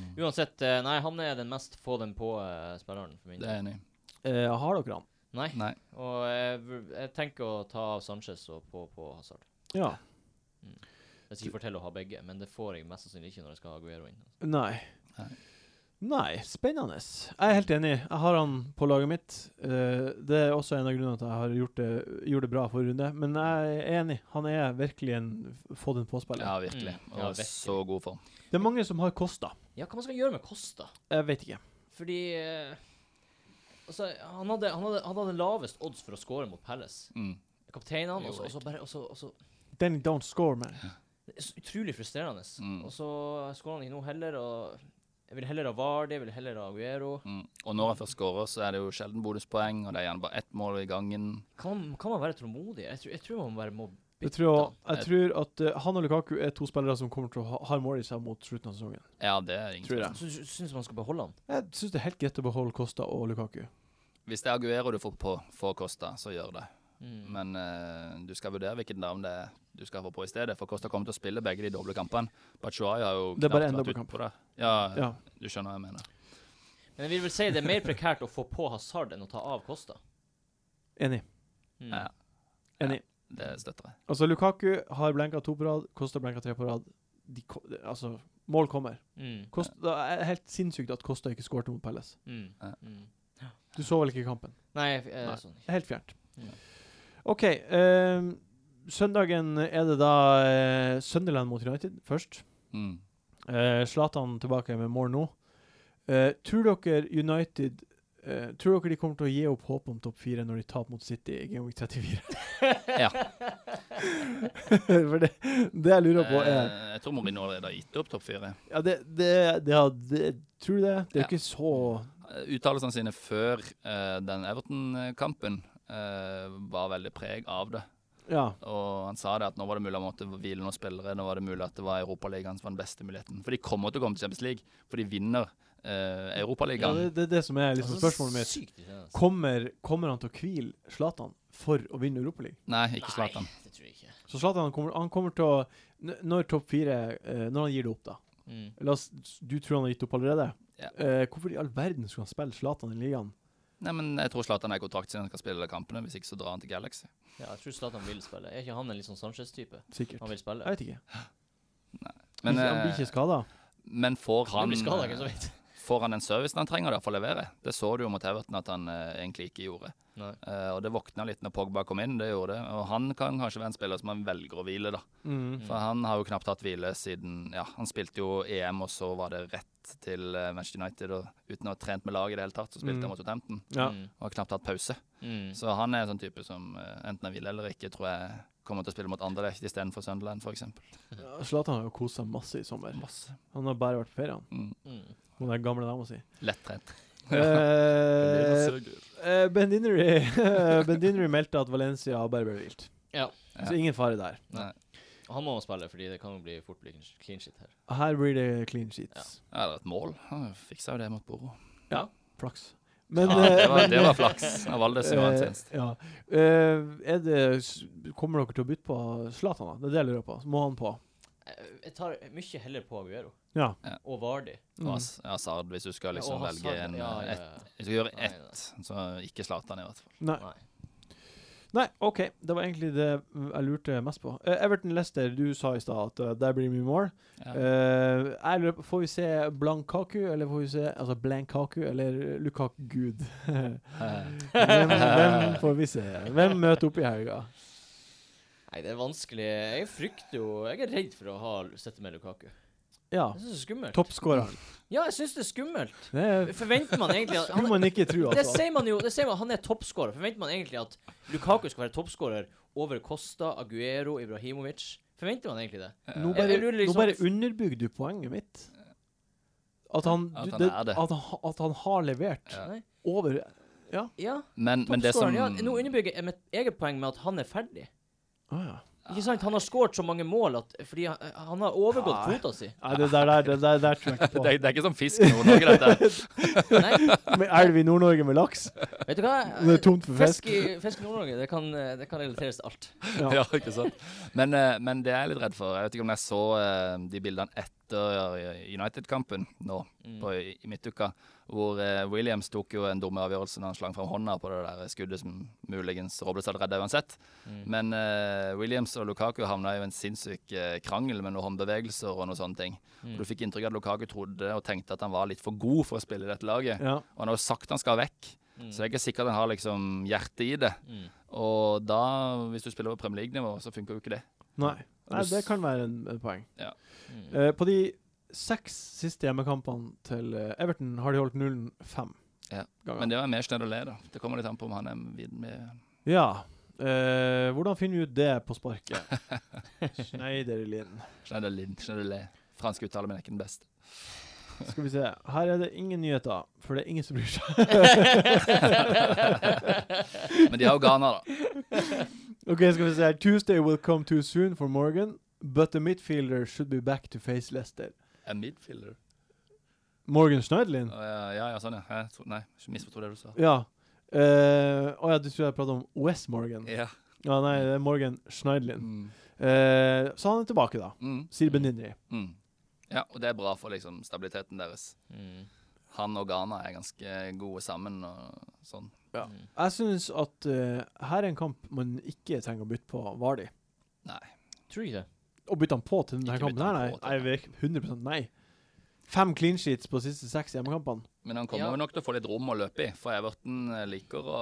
Speaker 4: Mm.
Speaker 2: Uansett, eh, nei, han er den mest få dem på-spilleren for min
Speaker 4: Det er
Speaker 2: del.
Speaker 4: jeg enig i.
Speaker 1: Eh, har dere han?
Speaker 2: Nei.
Speaker 1: Eh,
Speaker 4: Nei.
Speaker 2: Og jeg, vur- jeg tenker å ta av Sanchez og på, på Hazard.
Speaker 1: Ja.
Speaker 2: Jeg skal ikke fortelle å ha begge, men det får jeg mest sannsynlig ikke når jeg skal ha Guero inn.
Speaker 1: Nei.
Speaker 4: Nei.
Speaker 1: Nei, spennende. Jeg er helt enig. Jeg har han på laget mitt. Eh, det er også en av grunnene til at jeg har gjort det, gjorde det bra forrige runde. Men jeg er enig. Han er virkelig en f- få den på-spiller.
Speaker 4: Ja, virkelig.
Speaker 2: Mm.
Speaker 4: Og
Speaker 2: Ja, virkelig.
Speaker 4: så god form.
Speaker 1: Det er mange som har Kosta.
Speaker 2: Ja, hva man skal gjøre med Costa?
Speaker 1: Jeg vet ikke.
Speaker 2: Fordi eh, Altså, han hadde, han, hadde, han hadde lavest odds for å score mot Palace.
Speaker 4: Mm.
Speaker 2: Kapteinene, og
Speaker 4: Jo,
Speaker 2: så- og så bare og så- og så
Speaker 1: Then don't score, man.
Speaker 2: Det er så utrolig frustrerende.
Speaker 4: Mm.
Speaker 2: Og så skårer han ikke nå heller, og jeg vil heller ha Vardy, jeg vil heller ha Aguero.
Speaker 4: Mm. Og når han først skårer, så er det jo sjelden bonuspoeng, og det er gjerne bare ett mål i gangen.
Speaker 2: Kan, kan man være tålmodig? Jeg tror, jeg tror man bare må
Speaker 1: Jeg tror, jeg tror at eh, han og Lukaku er to spillere som kommer til å ha, ha mål i seg mot slutten av sesongen.
Speaker 4: Ja, det er ingen
Speaker 1: Tror
Speaker 4: tvil.
Speaker 1: jeg.
Speaker 2: Så sy- syns altså, man skal beholde han.
Speaker 1: Jeg syns det er helt greit å beholde Kosta og Lukaku.
Speaker 4: Hvis det er Aguero du får på for Costa, så gjør det.
Speaker 2: Mm.
Speaker 4: Men eh, du skal vurdere hvilket navn det er du skal få på i stedet. For Costa kommer til å spille begge de doble kampene. Bachuay har jo
Speaker 1: Det er bare
Speaker 4: knapt
Speaker 1: en
Speaker 4: vært
Speaker 1: dobbeltkamp.
Speaker 4: utpå der. Ja,
Speaker 1: Ja.
Speaker 4: du skjønner hva jeg mener.
Speaker 2: Men jeg vil vel si det er mer prekært å få på Hazard enn å ta av Costa.
Speaker 1: Enig.
Speaker 2: Mm.
Speaker 4: Ja.
Speaker 1: Enig.
Speaker 4: Det støtter jeg.
Speaker 1: Altså, Lukaku har blenka to på rad, Kosta blenka tre på rad. De, ko- altså, mål kommer.
Speaker 2: Mm.
Speaker 1: Kosta, det er helt sinnssykt at Kosta ikke skårte mot Palace.
Speaker 2: Mm.
Speaker 4: Ja.
Speaker 2: Mm.
Speaker 1: Du så vel ikke kampen?
Speaker 2: Nei, jeg- jeg-
Speaker 1: Nei.
Speaker 2: sånn.
Speaker 1: Det er Helt fjernt.
Speaker 2: Ja.
Speaker 1: OK. ehm, søndagen er det da eh, Sunderland mot United først.
Speaker 4: Mm.
Speaker 1: Eh, Zlatan tilbake med mål nå. Eh, tror dere United eh, Tror dere de kommer til å gi opp håpet om topp fire når de taper mot City i Game Week 34?
Speaker 4: Ja.
Speaker 1: For det, det jeg lurer på, er
Speaker 4: Eh, jeg tror Mourinho allerede har gitt opp topp fire.
Speaker 1: Ja, det, det, det, har- det Tror du det? Det er jo
Speaker 4: Ja.
Speaker 1: ikke så
Speaker 4: Eh, Uttalelsene sine før eh, den Everton-kampen eh, var veldig preg av det.
Speaker 1: Ja.
Speaker 4: Og han sa det at nå var det mulig å måtte hvile noen spillere. Nå var det mulig at det var Europaligaen som var den beste muligheten. For de kommer til å komme til Champions League, for de vinner eh,
Speaker 1: ja
Speaker 4: Europaligaen.
Speaker 1: det, det er det som er liksom spørsmålet mitt.
Speaker 2: Altså, Sykt irriterende.
Speaker 1: Kommer, kommer han til å hvile Zlatan for å vinne Europaligaen?
Speaker 4: Nei, ikke Zlatan.
Speaker 2: Nei, det tror jeg ikke.
Speaker 1: Så Zlatan kommer, han kommer til å n- Når topp fire eh, Når han gir det opp, da.
Speaker 2: Mm.
Speaker 1: La oss, du tror han har gitt opp allerede?
Speaker 4: Ja.
Speaker 1: Eh, hvorfor i all verden skulle han spille Zlatan i ligaen?
Speaker 4: Nei, men jeg tror Zlatan er i kontrakt siden han skal spille kampene. Hvis ikke så drar han til Galaxy.
Speaker 2: Ja, jeg tror Zlatan vil spille. Er ikke han en litt sånn Sanchez-type?
Speaker 1: Sikkert.
Speaker 2: Han vil
Speaker 1: Jeg
Speaker 2: spille.
Speaker 1: vet ikke.
Speaker 4: Men,
Speaker 1: han blir
Speaker 4: eh,
Speaker 1: ikke skada?
Speaker 4: men får,
Speaker 2: Han
Speaker 4: han,
Speaker 2: blir skadet, ikke
Speaker 4: eh,
Speaker 2: så vidt.
Speaker 4: får han den servicen han trenger da for å levere? Det så du jo mot Everton at han eh, egentlig ikke gjorde.
Speaker 2: Nei.
Speaker 4: Eh, og det våkna litt når Pogba kom inn, det gjorde det. Og han kan kanskje være en spiller som han velger å hvile, da.
Speaker 1: Mm.
Speaker 4: For han har jo knapt hatt hvile siden Ja, han spilte jo EM, og så var det rett til eh, Manchester United. Og uten å ha trent med laget i det hele tatt, så spilte
Speaker 1: Mm.
Speaker 4: han mot Southampton.
Speaker 1: Ja.
Speaker 2: Mm.
Speaker 4: Og har knapt hatt pause.
Speaker 2: Mm.
Speaker 4: Så han er en sånn type som eh, enten han vil eller ikke, tror jeg kommer til å spille mot Anderlecht istedenfor Sunderland, f.eks.
Speaker 1: Ja, Zlatan har jo kost seg masse i sommer.
Speaker 4: Masse.
Speaker 1: Han har bare vært på ferie, han.
Speaker 4: Mm.
Speaker 2: Mm.
Speaker 1: Hun der gamle dama si.
Speaker 4: Lettrent.
Speaker 1: Eh,
Speaker 4: Surgur.
Speaker 1: eh, ben Dinnery Ben Dinnery meldte at Valencia bare ble vilt.
Speaker 2: Ja.
Speaker 1: Så ingen fare der.
Speaker 2: Han må spille, fordi det kan jo bli fort bli clean shit her.
Speaker 1: Her blir det clean sheets.
Speaker 4: Ja, det var et mål. Han fiksa jo det mot Boro.
Speaker 1: Flaks. Men,
Speaker 4: ja, det,
Speaker 1: eh,
Speaker 4: var,
Speaker 1: men,
Speaker 4: det var flaks av Valdes i hans
Speaker 1: eh,
Speaker 4: tjeneste.
Speaker 1: ja. Eh, er det, s- kommer dere til å bytte på Zlatan? da? Det er det jeg lurer på. Må han på?
Speaker 2: Eh, Jeg- Jeg tar mye heller på Aguero.
Speaker 1: Ja.
Speaker 2: Og Vardy.
Speaker 1: Mm.
Speaker 4: Og Ass- Hazard, hvis du skal liksom
Speaker 2: Ja, og
Speaker 4: velge
Speaker 2: Hazard, ja,
Speaker 4: en
Speaker 2: ja,
Speaker 4: eh,
Speaker 2: ja.
Speaker 4: ett. Hvis du gjør
Speaker 2: Nei, nei.
Speaker 4: ett, så ikke Zlatan i hvert fall.
Speaker 1: Nei.
Speaker 2: Nei.
Speaker 1: Nei, OK. Det var egentlig det jeg lurte mest på. Eh, Everton Lester, du sa i stad at eh, der blir det mye mål.
Speaker 4: Ja.
Speaker 1: Eh, jeg lurer på, får vi se Blankaku, eller får vi se altså Blankaku eller Lukaku Gud?
Speaker 4: Eh,
Speaker 1: hvem, hvem får vi se? Hvem møter opp i helga?
Speaker 2: Nei, det er vanskelig. Jeg frykter jo Jeg er redd for å ha sette med Lukaku.
Speaker 1: Ja.
Speaker 2: Jeg syns det er skummelt.
Speaker 1: Toppskåreren.
Speaker 2: Ja, jeg syns det er skummelt.
Speaker 1: Det
Speaker 2: Forventer man egentlig at
Speaker 1: skulle
Speaker 2: han,
Speaker 1: man ikke tro,
Speaker 2: Det
Speaker 1: altså.
Speaker 2: sier man jo. Det sier man, han er toppskårer. Forventer man egentlig at Lukaku skal være toppskårer over Costa, Aguero, Ibrahimovic? Forventer man egentlig det?
Speaker 1: Nå
Speaker 2: Jeg-
Speaker 4: eh,
Speaker 1: bare,
Speaker 2: jeg lurer liksom-
Speaker 1: nå bare underbygger du poenget mitt. At han,
Speaker 4: At
Speaker 1: du-
Speaker 4: han
Speaker 1: det,
Speaker 4: er det.
Speaker 1: at han, ha- at han har levert
Speaker 4: Ja.
Speaker 2: Nei?
Speaker 1: over
Speaker 2: Ja.
Speaker 4: Men, men det som
Speaker 2: Toppskåreren, ja. Nå underbygger jeg mitt eget poeng med at han er ferdig.
Speaker 1: Å ja.
Speaker 2: Ikke sant? Han har skåret så mange mål at fordi han, han har overgått
Speaker 1: Nei.
Speaker 2: kvota si.
Speaker 1: Nei, det der, der, det der, der tror jeg ikke på.
Speaker 4: det, er- det er ikke som fisk i Nord-Norge, dette.
Speaker 2: Nei,
Speaker 1: Med elv i Nord-Norge med laks?
Speaker 2: vet du hva?
Speaker 1: Det er tomt for fisk.
Speaker 2: Fisk i, fisk i Nord-Norge, det, kan, eh, det kan relateres til alt.
Speaker 1: Ja.
Speaker 4: ja, ikke sant? Men, eh, men det jeg er litt redd for Jeg vet ikke om jeg så eh, de bildene etter eh, United-kampen nå
Speaker 2: Mm.
Speaker 4: på, i, i midtuka, hvor eh, Williams tok jo en dumme avgjørelse når han slang fram hånda på det der skuddet som muligens Robles hadde redda uansett.
Speaker 2: Mm.
Speaker 4: Men eh, Williams og Lukaku havna i en sinnssyk eh, krangel med noen håndbevegelser og noen sånne ting.
Speaker 2: Mm.
Speaker 4: Du fikk inntrykk av at Lukaku trodde og tenkte at han var litt for god for å spille i dette laget.
Speaker 1: Ja.
Speaker 4: Og han har jo sagt han skal vekk,
Speaker 2: Mm.
Speaker 4: så det er ikke sikkert han har liksom hjertet i det.
Speaker 2: Mm.
Speaker 4: Og da, hvis du spiller på Premier League-nivå, så funker jo ikke det.
Speaker 1: Nei. Nei, det kan være en, en poeng.
Speaker 2: Mm.
Speaker 1: Eh, på de seks siste hjemmekampene til eh, Everton har de holdt nullen fem
Speaker 4: Ja,
Speaker 1: ganger.
Speaker 4: Men det var mer Schneiderlé, da. Det kommer litt an på om han er vid med
Speaker 1: Ja. eh, hvordan finner vi ut det på sparket? Schneiderlin.
Speaker 4: Schneiderlin, Schneiderlé. Fransk uttale, men er ikke den beste.
Speaker 1: Skal vi se. Her er det ingen nyheter, for det er ingen som bryr seg.
Speaker 4: Men de har jo Ghana, da.
Speaker 1: OK, skal vi se. her. Tuesday will come too soon for Morgan, but the midfielder should be back to face Leicester.
Speaker 4: En midfielder.
Speaker 1: Morgan Schneiderlin?
Speaker 4: Å, ja, ja, ja, sånn, ja. Jeg tror, nei, misforsto det du sa.
Speaker 1: Ja. Eh, Å ja, du tror jeg prater om West Morgan?
Speaker 4: Ja.
Speaker 1: Mm. Ja, nei, det er Morgan Schneiderlin.
Speaker 4: Mm.
Speaker 1: Eh, så han er tilbake, da.
Speaker 4: Mm.
Speaker 1: Sier Benindri.
Speaker 4: Mm. Ja, og det er bra for liksom stabiliteten deres.
Speaker 2: Mm.
Speaker 4: Han og Ghana er ganske gode sammen og sånn.
Speaker 1: Ja.
Speaker 2: Mm.
Speaker 1: Jeg synes at eh, her er en kamp man ikke trenger å bytte på Vardi.
Speaker 2: Tror du ikke det?
Speaker 1: Å bytte han på til denne
Speaker 4: Ikke
Speaker 1: kampen
Speaker 4: bytte
Speaker 1: her,
Speaker 4: han
Speaker 1: nei.
Speaker 4: på til
Speaker 1: Jeg virker 100 nei. Fem clean sheets på siste seks hjemmekampene.
Speaker 4: Men han kommer
Speaker 2: Ja.
Speaker 4: jo nok til å få litt rom å løpe i, for Everton eh, liker å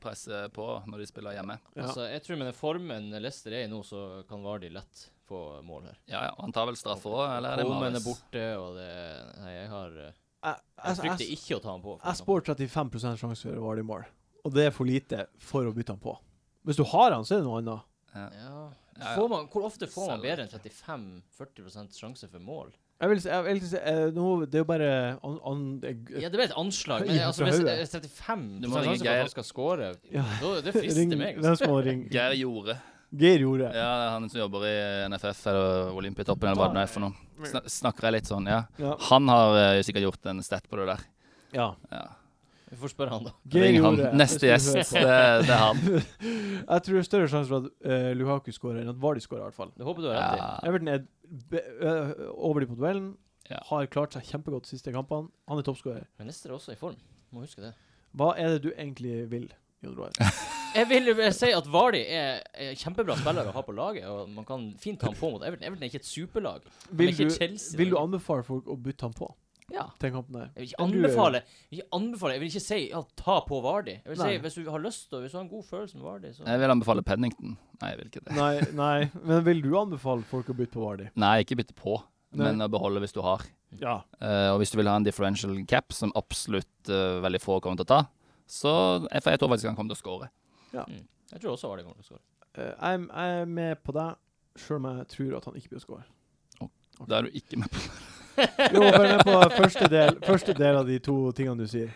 Speaker 4: presse på når de spiller hjemme.
Speaker 1: Ja.
Speaker 2: Altså, jeg tror med den formen Leicester er i nå, så kan Vardy lett få mål her.
Speaker 4: Ja, ja, Han tar vel straffe òg, eller er det
Speaker 2: Holmen er
Speaker 4: Mares?
Speaker 2: borte, og det Nei, jeg har eh,
Speaker 1: Jeg,
Speaker 2: Jeg
Speaker 1: Altså, jeg,
Speaker 2: frykter
Speaker 1: jeg,
Speaker 2: ikke å ta han på. for
Speaker 1: jeg
Speaker 2: eksempel.
Speaker 1: spår 35 sjanse for Vardi mål, og det er for lite for å bytte han på. Hvis du har han, så er det noe annet.
Speaker 2: Ja.
Speaker 4: Ja, ja.
Speaker 2: Får man, hvor ofte får man
Speaker 4: Selv
Speaker 2: bedre enn 35-40 sjanse for mål?
Speaker 1: Jeg vil, si- jeg vil si eh, nå, Det er jo bare eh, an, an, jeg,
Speaker 2: Ja, det ble et anslag, men
Speaker 1: Ja,
Speaker 2: altså,
Speaker 1: fra
Speaker 2: hvis
Speaker 1: hodet.
Speaker 2: eh, 35
Speaker 4: Du må
Speaker 2: sjanse
Speaker 4: ringe
Speaker 2: for at
Speaker 4: Geir.
Speaker 2: han skal score,
Speaker 1: Ja.
Speaker 2: da, det frister
Speaker 1: ring,
Speaker 2: meg.
Speaker 1: Hvem
Speaker 2: Altså.
Speaker 1: som må ringe?
Speaker 4: Geir Jorde.
Speaker 1: Geir gjorde det.
Speaker 4: Ja, det er han som jobber i NFF eller Olympiatoppen eller hva det nå er for noe. Sna snakker jeg litt sånn, ja.
Speaker 1: Ja.
Speaker 4: Han har eh, sikkert gjort en stat på det der.
Speaker 1: ja.
Speaker 4: Ja.
Speaker 2: Vi får spørre han, da.
Speaker 1: Geir
Speaker 4: Ring han.
Speaker 1: gjorde det.
Speaker 4: Neste
Speaker 1: Hvis du
Speaker 4: gjest,
Speaker 1: hører på.
Speaker 4: det, det er han.
Speaker 1: Jeg tror det er større sjanse for at eh, Luhaku skårer enn at Vardy skårer, i hvert fall.
Speaker 2: Det håper du har rett i.
Speaker 4: Ja.
Speaker 1: Everton er be, ø- over de på duellen.
Speaker 4: Ja.
Speaker 1: Har klart seg kjempegodt de siste kampene. Han er toppskårer.
Speaker 2: Men Leicester er også i form. Må huske det.
Speaker 1: Hva er det du egentlig vil, Jon Roar?
Speaker 2: Jeg vil jo bare si at Vardy er en kjempebra spiller å ha på laget, og man kan fint ta ham på mot Everton. Everton er ikke et superlag.
Speaker 1: Vil,
Speaker 2: ikke
Speaker 1: du-
Speaker 2: Chelsea,
Speaker 1: vil du
Speaker 2: da.
Speaker 1: anbefale folk å bytte han på
Speaker 2: Ja.
Speaker 1: til den kampen der?
Speaker 2: Jeg vil ikke
Speaker 1: Men du er jo-
Speaker 2: anbefale Jeg vil ikke, anbefale, jeg vil ikke si ja, ta på Vardy. Jeg vil
Speaker 1: Nei.
Speaker 2: si Hvis du har lyst og hvis du har en god følelse med Vardy, så
Speaker 4: Jeg vil anbefale Pennington. Nei, jeg vil ikke det.
Speaker 1: Nei, nei, men vil du anbefale folk å bytte på Vardy?
Speaker 4: Nei, ikke bytte på,
Speaker 1: Nei.
Speaker 4: men å beholde hvis du har.
Speaker 1: Ja.
Speaker 4: Eh, og hvis du vil ha en differential cap, som absolutt eh, veldig få kommer til å ta, så jeg, for jeg tror faktisk han kommer til å score.
Speaker 2: Jeg tror også Vardy kommer til å skåre.
Speaker 1: Eh, jeg, er- jeg er med på deg, sjøl om jeg tror at han ikke blir å score.
Speaker 4: Da er du ikke med på
Speaker 1: Jo, bare med på første del, første del av de to tingene du sier.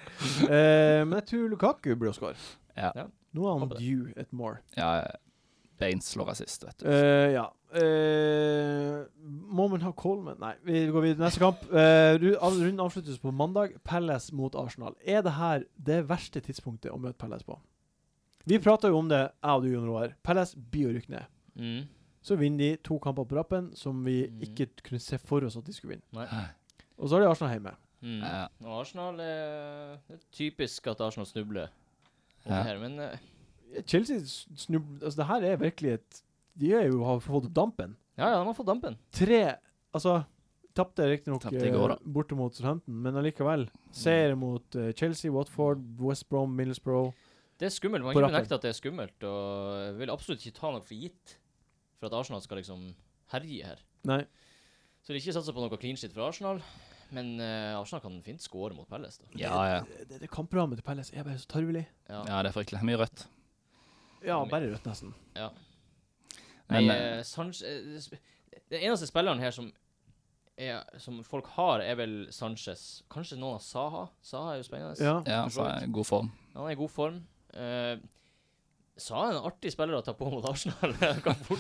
Speaker 1: Eh, men jeg tror Lukaku blir å score.
Speaker 4: Ja.
Speaker 2: Ja.
Speaker 1: Nå er han
Speaker 2: Håper det.
Speaker 1: due et more.
Speaker 4: Ja, Baines slår assist, vet du.
Speaker 1: Eh, ja. Eh, må man ha Coleman? Nei, vi går videre til neste kamp. Eh, ru- av- Runden avsluttes på mandag. Palace mot Arsenal. Er det her det verste tidspunktet å møte Palace på? Vi prata jo om det, jeg og du, Jon Roar. Palace blir å rykke ned.
Speaker 2: Mm.
Speaker 1: Så vinner de to kamper på rappen som vi
Speaker 2: Mm.
Speaker 1: ikke kunne se for oss at de skulle vinne.
Speaker 2: Nei.
Speaker 1: Og så har de Arsenal hjemme.
Speaker 2: Mm.
Speaker 4: Ja.
Speaker 2: Og Arsenal er, Det er typisk at Arsenal snubler. om
Speaker 4: Ja.
Speaker 2: det Her, men eh,
Speaker 1: Chelsea snub... Altså, det her er virkelig et De er jo, har fått opp dampen.
Speaker 2: ja, ja, de har fått dampen.
Speaker 1: Tre Altså, tapte riktignok eh,
Speaker 4: Tapte i går, da. Mm.
Speaker 1: borte mot Southampton, men allikevel. Seier mot eh, Chelsea, Watford, West Brom, Middlesbrough.
Speaker 2: Det er skummelt.
Speaker 1: På
Speaker 2: Man kan ikke
Speaker 1: rappen.
Speaker 2: benekte at det er skummelt, og jeg vil absolutt ikke ta noe for gitt for at Arsenal skal liksom herje her.
Speaker 1: Nei.
Speaker 2: Så de ikke satser på noe clean shit fra Arsenal, men eh, Arsenal kan fint skåre mot Palace, da.
Speaker 4: Ja, ja.
Speaker 1: Det, det, det kampprogrammet til Palace er bare så tarvelig.
Speaker 2: Ja.
Speaker 4: ja, det er fryktelig. Mye rødt.
Speaker 1: Ja, bare rødt, nesten.
Speaker 2: Nei,
Speaker 4: Men
Speaker 2: eh, Sanch- eh, det sp- Den eneste spilleren her som, er, som folk har, er vel Sanchez. Kanskje noen av Saha? Saha er jo spennende.
Speaker 1: Ja.
Speaker 4: eh, ja, så er jeg i god form.
Speaker 2: Han er i god form. Eh, Saha er en artig spiller å ta på mot Arsenal. Han kan fort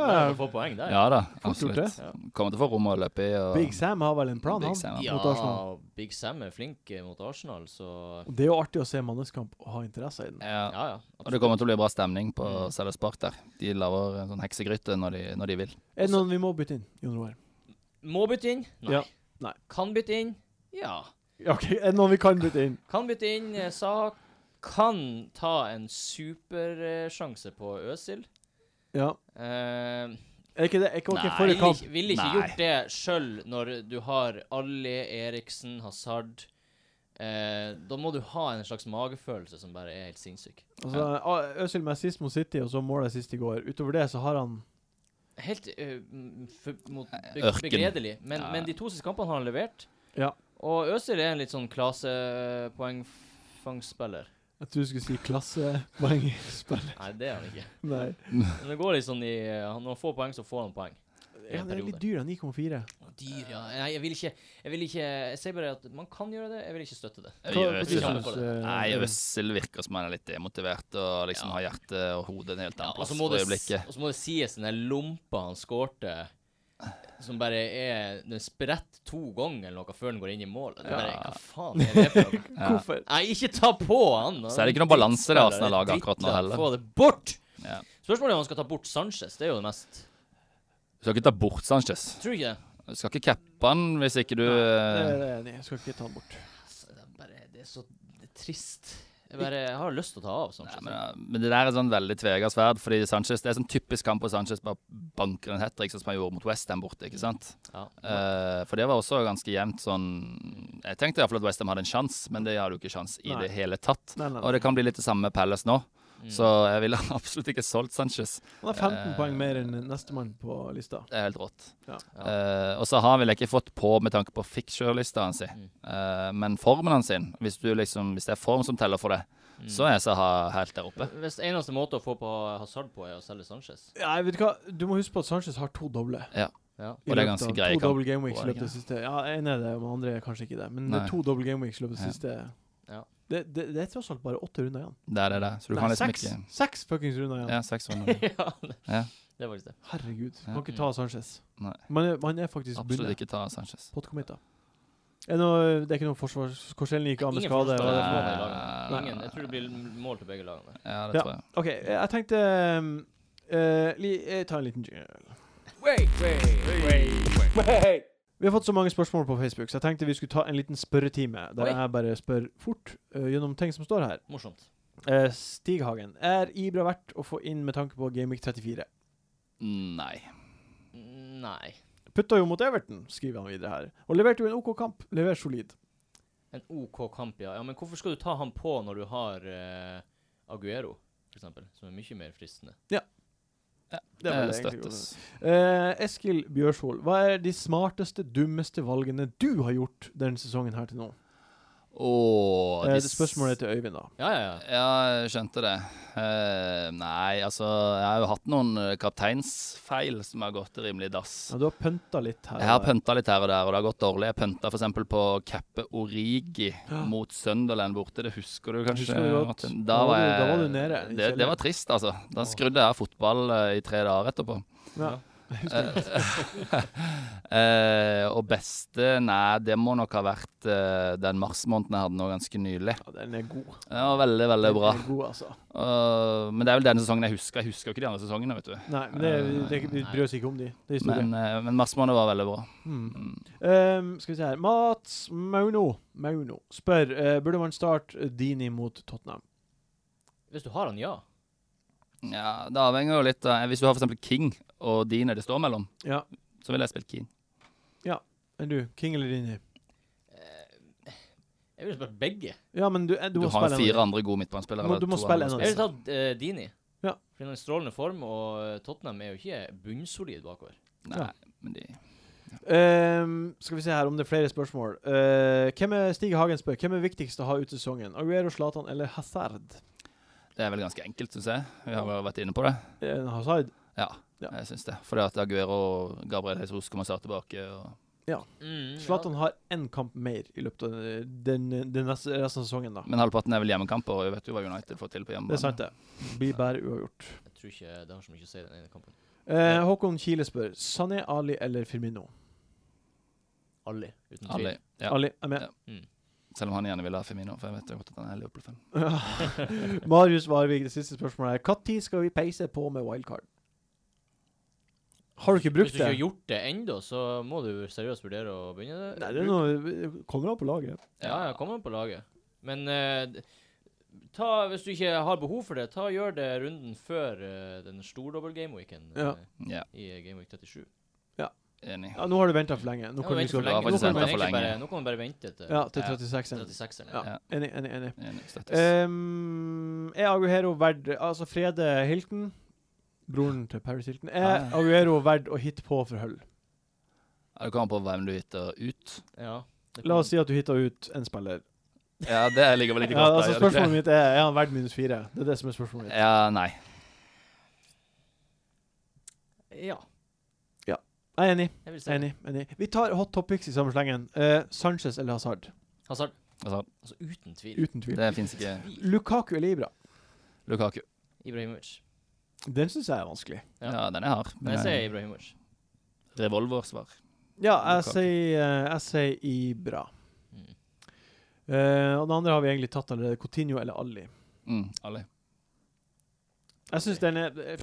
Speaker 1: ja.
Speaker 2: få poeng der.
Speaker 4: Ja da,
Speaker 1: Fort gjort,
Speaker 4: absolutt.
Speaker 2: det.
Speaker 4: Kommer til å få rom å løpe i. Og
Speaker 1: Big Sam har vel en plan,
Speaker 4: Big
Speaker 1: han,
Speaker 4: Sam,
Speaker 2: Ja,
Speaker 1: mot Arsenal.
Speaker 2: Big Sam er flink eh, mot Arsenal, så
Speaker 1: Og Det er jo artig å se manneskamp og ha interesse i den.
Speaker 4: Ja.
Speaker 2: Ja, ja.
Speaker 4: Og det kommer til å bli bra stemning på
Speaker 2: Mm.
Speaker 4: Sellers Park der. De lager en sånn heksegryte når de, når de vil.
Speaker 1: Er det noen vi må bytte inn, Jon Roar?
Speaker 2: Må bytte inn? Nei.
Speaker 1: Ja. Nei.
Speaker 2: Kan bytte inn? Ja.
Speaker 1: Ja, ok, Er det noen vi kan bytte inn?
Speaker 2: Kan bytte inn. eh, Saha kan ta en supersjanse på Øsil.
Speaker 1: Ja.
Speaker 2: Eh,
Speaker 1: Er ikke det? Er ikke okay,
Speaker 4: Nei.
Speaker 1: forrige kamp
Speaker 2: Ville ikke, vil ikke
Speaker 4: Nei.
Speaker 2: gjort det sjøl når du har Alli, Eriksen, Hazard eh, Da må du ha en slags magefølelse som bare er helt sinnssyk.
Speaker 1: Altså, A- Øzil med sist mot City, og så målet sist i går. Utover det så har han
Speaker 2: Helt eh, m- for, mot, be,
Speaker 4: Ørken.
Speaker 2: begredelig. Men,
Speaker 4: Ja.
Speaker 2: men de to siste kampene har han levert.
Speaker 1: Ja.
Speaker 2: Og Øzil er en litt sånn klasepoengfangsspiller.
Speaker 1: Jeg tror du skulle si klassepoengspill.
Speaker 2: Nei, det er han ikke.
Speaker 1: Nei.
Speaker 2: Men det går litt sånn i eh, han- Når han får poeng, så får han poeng. I
Speaker 1: Ja,
Speaker 2: en
Speaker 1: det er
Speaker 2: periode.
Speaker 1: litt dyr, da, 9,4.
Speaker 2: Dyr, ja. Nei, jeg vil ikke Jeg vil ikke Jeg sier bare at man kan gjøre det. Jeg vil ikke støtte det.
Speaker 1: Hva-
Speaker 4: Øy,
Speaker 1: hva
Speaker 4: Øsil-
Speaker 2: synes
Speaker 1: synes,
Speaker 2: du?
Speaker 1: eh,
Speaker 4: Nei, Øssel virker som han er litt demotivert og liksom
Speaker 2: Ja.
Speaker 4: har hjertet og hodet en helt
Speaker 2: Ja, altså og
Speaker 4: annen plass
Speaker 2: så må
Speaker 4: for
Speaker 2: det,
Speaker 4: øyeblikket.
Speaker 2: og så må det sies den der lompa han skårte, som bare er Den spretter to ganger eller noe før den går inn i mål. Det er bare,
Speaker 4: Ja.
Speaker 2: Hva faen er det for noe?
Speaker 4: Ja.
Speaker 1: Hvorfor?
Speaker 2: Nei, ikke ta på han!
Speaker 4: Så er det ikke noe balanse i det Arsenal-laget akkurat nå
Speaker 2: Drittlag.
Speaker 4: heller.
Speaker 2: Få det bort!
Speaker 4: Ja.
Speaker 2: Spørsmålet er om han skal ta bort Sanchez. Det er jo det mest
Speaker 4: Du skal ikke ta bort Sanchez.
Speaker 2: Tror du ikke det?
Speaker 4: Du skal ikke cappe han hvis ikke du
Speaker 1: Det
Speaker 4: eh,
Speaker 1: er jeg enig i. Jeg skal ikke ta han bort.
Speaker 2: Altså, Det er bare Det er så det er trist. Jeg bare jeg har lyst til å ta av
Speaker 4: Nei,
Speaker 2: Sanchez.
Speaker 4: men, ja, men det der er sånn veldig tvega sverd, fordi Sanchez, det er sånn typisk kamp hvor Sanchez bare banker en hat trick, sånn som han gjorde mot Westham borte. ikke sant?
Speaker 2: Ja. Mm.
Speaker 4: Eh, for det var også ganske jevnt sånn Jeg tenkte iallfall at Westham hadde en sjanse, men det hadde jo ikke sjanse i
Speaker 1: Nei.
Speaker 4: det hele tatt.
Speaker 1: Nei, nei,
Speaker 4: Og
Speaker 1: nei.
Speaker 4: det kan bli litt det samme med Palace nå,
Speaker 2: Mm.
Speaker 4: så jeg ville absolutt ikke solgt Sanchez.
Speaker 1: Han har 15
Speaker 4: eh,
Speaker 1: poeng mer enn nestemann på lista.
Speaker 4: Det er helt rått.
Speaker 1: Ja.
Speaker 2: Ja.
Speaker 4: Eh, og så har vel jeg ikke fått på med tanke på fixture-lista hans,
Speaker 2: Mm.
Speaker 4: Eh, men formen hans, sin, hvis, du liksom, hvis det er form som teller for det,
Speaker 2: Mm.
Speaker 4: så er Saha helt der oppe.
Speaker 2: Hvis eneste måte å få på Hazard på, er å selge Sanchez
Speaker 1: Nei, vet Du hva? Du må huske på at Sanchez har to doble.
Speaker 2: Ja.
Speaker 1: i
Speaker 4: Og det er
Speaker 1: løpet
Speaker 4: ganske
Speaker 1: av-
Speaker 4: greie
Speaker 1: To
Speaker 4: kamp.
Speaker 1: double game weeks i
Speaker 4: Poeng,
Speaker 1: løpet av siste. Ja, ene er det, men andre er kanskje ikke det. Men det
Speaker 4: Nei.
Speaker 1: er to double game weeks i løpet av
Speaker 4: Ja.
Speaker 1: siste.
Speaker 2: Ja.
Speaker 1: Det, det, det er tross alt bare åtte runder igjen.
Speaker 4: Det er det, det. Så du
Speaker 1: Nei,
Speaker 4: kan liksom
Speaker 1: seks,
Speaker 4: ikke
Speaker 1: seks fuckings runder igjen.
Speaker 4: Ja, seks runder.
Speaker 2: ja, det,
Speaker 4: Ja.
Speaker 2: det er faktisk det.
Speaker 1: Herregud.
Speaker 4: Ja.
Speaker 1: Kan ikke ta Sanchez.
Speaker 4: Nei.
Speaker 1: Man er, man er faktisk
Speaker 4: Absolutt
Speaker 1: bundet.
Speaker 4: ikke ta Sanchez.
Speaker 1: Potcommitta. Er det noe- det er ikke noe forsvar Korsellen gikk av med
Speaker 2: Ingen
Speaker 1: skade. og-
Speaker 2: forsvar, det er
Speaker 4: Nei.
Speaker 2: mål i lagene.
Speaker 4: Nei.
Speaker 2: Ingen. Jeg tror det blir mål til begge lagene.
Speaker 4: Ja, det
Speaker 1: Ja.
Speaker 4: tror jeg.
Speaker 1: OK, jeg- jeg tenkte um, eh, li, Jeg tar en liten jingle. Vi har fått så mange spørsmål på Facebook, så jeg tenkte vi skulle ta en liten spørretime. Der
Speaker 2: Oi.
Speaker 1: jeg bare spør fort eh, gjennom ting som står her.
Speaker 2: Morsomt.
Speaker 1: Eh, Stig Hagen. Er Ibra verdt å få inn med tanke på Gamic 34?
Speaker 4: Nei.
Speaker 2: Nei.
Speaker 1: Putta jo mot Everton, skriver han videre her. Og leverte jo en OK kamp. Lever solid.
Speaker 2: En OK kamp, ja. ja. Men hvorfor skal du ta han på når du har eh, Aguero, for eksempel, som er mye mer fristende?
Speaker 1: er
Speaker 2: Eh,
Speaker 4: Det
Speaker 1: vel egentlig
Speaker 4: støttes.
Speaker 1: godt. Eh, Eskil Bjørshol, hva er de smarteste, dummeste valgene du har gjort denne sesongen her til nå?
Speaker 4: Åh,
Speaker 1: Eh,
Speaker 4: de
Speaker 1: det spørsmålet er til Øyvind, da.
Speaker 2: Ja, ja, ja.
Speaker 4: Ja, jeg skjønte det. Eh, nei, altså Jeg har jo hatt noen eh, kapteinsfeil som har gått rimelig dass.
Speaker 1: Ja, du har pønta litt her.
Speaker 4: Jeg har pønta litt her og der, og det har gått dårlig. Jeg pønta f.eks. på Kappe Origi mot Sunderland borte. Det husker du kanskje?
Speaker 1: Husker du godt.
Speaker 4: Martin?
Speaker 1: Da
Speaker 4: Da
Speaker 1: var
Speaker 4: var,
Speaker 1: du-
Speaker 4: jeg,
Speaker 1: da var du nede i
Speaker 4: Det,
Speaker 1: kjelleren.
Speaker 4: det var trist, altså. Da skrudde jeg av fotball eh, i tre dager etterpå.
Speaker 1: Ja.
Speaker 4: Eh, og beste Nei, det må nok ha vært eh, den marsmåneden jeg hadde nå ganske nylig.
Speaker 1: ja, den er god.
Speaker 4: Det var veldig, veldig
Speaker 1: Den
Speaker 4: bra.
Speaker 1: er god, altså.
Speaker 4: Eh, men det er vel denne sesongen jeg husker. Jeg husker jo ikke de andre sesongene, vet du.
Speaker 1: Nei, men det,
Speaker 4: Eh,
Speaker 1: det, vi bryr oss ikke om de. Det er historie.
Speaker 4: Men, eh, men marsmåneden var veldig bra.
Speaker 1: Mm.
Speaker 4: Mm.
Speaker 1: Ehm, skal vi se her Mats Mauno, Mauno spør eh, Burde man starte Dini mot Tottenham.
Speaker 2: Hvis du har han, ja.
Speaker 4: Ja, det avhenger jo litt av Hvis du har for eksempel King og Dine det står mellom,
Speaker 1: Ja.
Speaker 4: så ville jeg spilt King.
Speaker 1: Enn du? King eller Dini?
Speaker 2: Eh, Jeg ville spilt begge.
Speaker 1: Ja, men du, eh, du,
Speaker 4: Du,
Speaker 1: må spille
Speaker 4: har jo
Speaker 1: en av
Speaker 4: fire
Speaker 1: dem.
Speaker 4: andre gode midtbanespillere.
Speaker 1: Må-
Speaker 4: eller
Speaker 1: du må
Speaker 4: to
Speaker 1: spille
Speaker 4: andre
Speaker 1: en av
Speaker 2: Jeg
Speaker 1: dem.
Speaker 2: ville
Speaker 4: spillere.
Speaker 2: tatt eh, Dini.
Speaker 1: Ja.
Speaker 2: Fordi han er i strålende form, og eh, Tottenham er jo ikke bunnsolid bakover.
Speaker 1: Ja.
Speaker 4: Nei, men de
Speaker 1: Ehm, skal vi se her om det er flere spørsmål. Eh, hvem er Stig Hagen spør Hvem er viktigst å ha ut sesongen? Aguero, Zlatan eller Hazard?
Speaker 4: Det er vel ganske enkelt, syns jeg. Vi har vel vært inne på det.
Speaker 1: Eh, Hazard?
Speaker 4: Ja,
Speaker 1: Ja.
Speaker 4: jeg syns det. Fordi at Aguero og Gabriel Jesus kommer snart tilbake. Og
Speaker 2: Mm,
Speaker 1: Zlatan har én kamp mer i løpet av den, den, neste, resten av sesongen, da.
Speaker 4: men halvparten er vel hjemmekamper, og vi vet jo hva United får til på hjemmebane.
Speaker 1: Det er sant, det. Blir bare uavgjort.
Speaker 2: Ja, jeg tror ikke det har så mye å si i den ene kampen.
Speaker 1: Eh, Håkon Kile spør Sané, Ali eller Firmino?
Speaker 2: Alle, uten tvil.
Speaker 4: Ali, ja.
Speaker 1: Ali er med.
Speaker 4: Selv om han gjerne vil ha Femino, for jeg vet jo godt at han er Liverpool-fan.
Speaker 1: Marius Varvik, det siste spørsmålet er Når skal vi peise på med wildcard? Har du ikke
Speaker 2: Hvis
Speaker 1: brukt
Speaker 2: du ikke har
Speaker 1: det?
Speaker 2: gjort det ennå, så må du seriøst vurdere å begynne det.
Speaker 1: Nei, det er noe Kommer an på laget.
Speaker 2: Ja, ja, kom an på laget. Men eh, d- ta, hvis du ikke har behov for det, ta og gjør det runden før eh, den store double gameweeken
Speaker 1: Ja.
Speaker 2: eh,
Speaker 4: Ja,
Speaker 2: i Gameweek 37.
Speaker 4: enig.
Speaker 1: Ja, nå har du venta for lenge. Nå
Speaker 2: Ja,
Speaker 1: kan du
Speaker 2: vente for
Speaker 1: ikke
Speaker 4: lenge.
Speaker 2: lenge.
Speaker 4: Det var
Speaker 2: Nå kan man
Speaker 4: faktisk ventet for
Speaker 2: egentlig
Speaker 4: lenge.
Speaker 2: bare- Nå kan man bare vente til
Speaker 1: Ja, til 36 en.
Speaker 2: 36 eren
Speaker 1: Ja. Enig, enig, enig.
Speaker 4: enig støttes.
Speaker 1: Eh. Ehm, er Aguero verdt Altså, Frede Hilton, broren til Paris Hilton, er
Speaker 4: Ah.
Speaker 1: Aguero verdt å hitte på for hull?
Speaker 4: Ja, det kommer an på hvem du hitter ut.
Speaker 2: Ja. Det
Speaker 1: La oss si
Speaker 2: kan-
Speaker 1: at du hitter ut en spiller.
Speaker 4: Ja, det ligger vel ikke
Speaker 1: Ja,
Speaker 4: godt
Speaker 1: altså, spørsmålet mitt er er han verdt minus fire. Det er det som er spørsmålet mitt.
Speaker 4: Ja, nei.
Speaker 2: Ja,
Speaker 1: Jeg er enig.
Speaker 2: jeg vil si det.
Speaker 1: Enig. enig. Vi tar hot topics i samme slengen. Eh, Sanchez eller Hazard?
Speaker 2: Hazard.
Speaker 4: Altså,
Speaker 2: Altså uten tvil.
Speaker 1: Uten tvil.
Speaker 4: det fins ikke
Speaker 1: Lukaku eller Ibra?
Speaker 4: Lukaku.
Speaker 2: Ibrahimovic.
Speaker 1: Den syns jeg er vanskelig.
Speaker 2: Ja.
Speaker 4: Ja, den er hard.
Speaker 2: Men jeg sier Ibrahimovic.
Speaker 4: Revolversvar.
Speaker 1: Ja, jeg
Speaker 4: Lukaku.
Speaker 1: sier, eh, jeg sier Ibra.
Speaker 2: Mm.
Speaker 1: Eh, og det andre har vi egentlig tatt allerede. Coutinho eller Ali?
Speaker 4: Mm, Ali.
Speaker 1: Jeg syns den er, eh,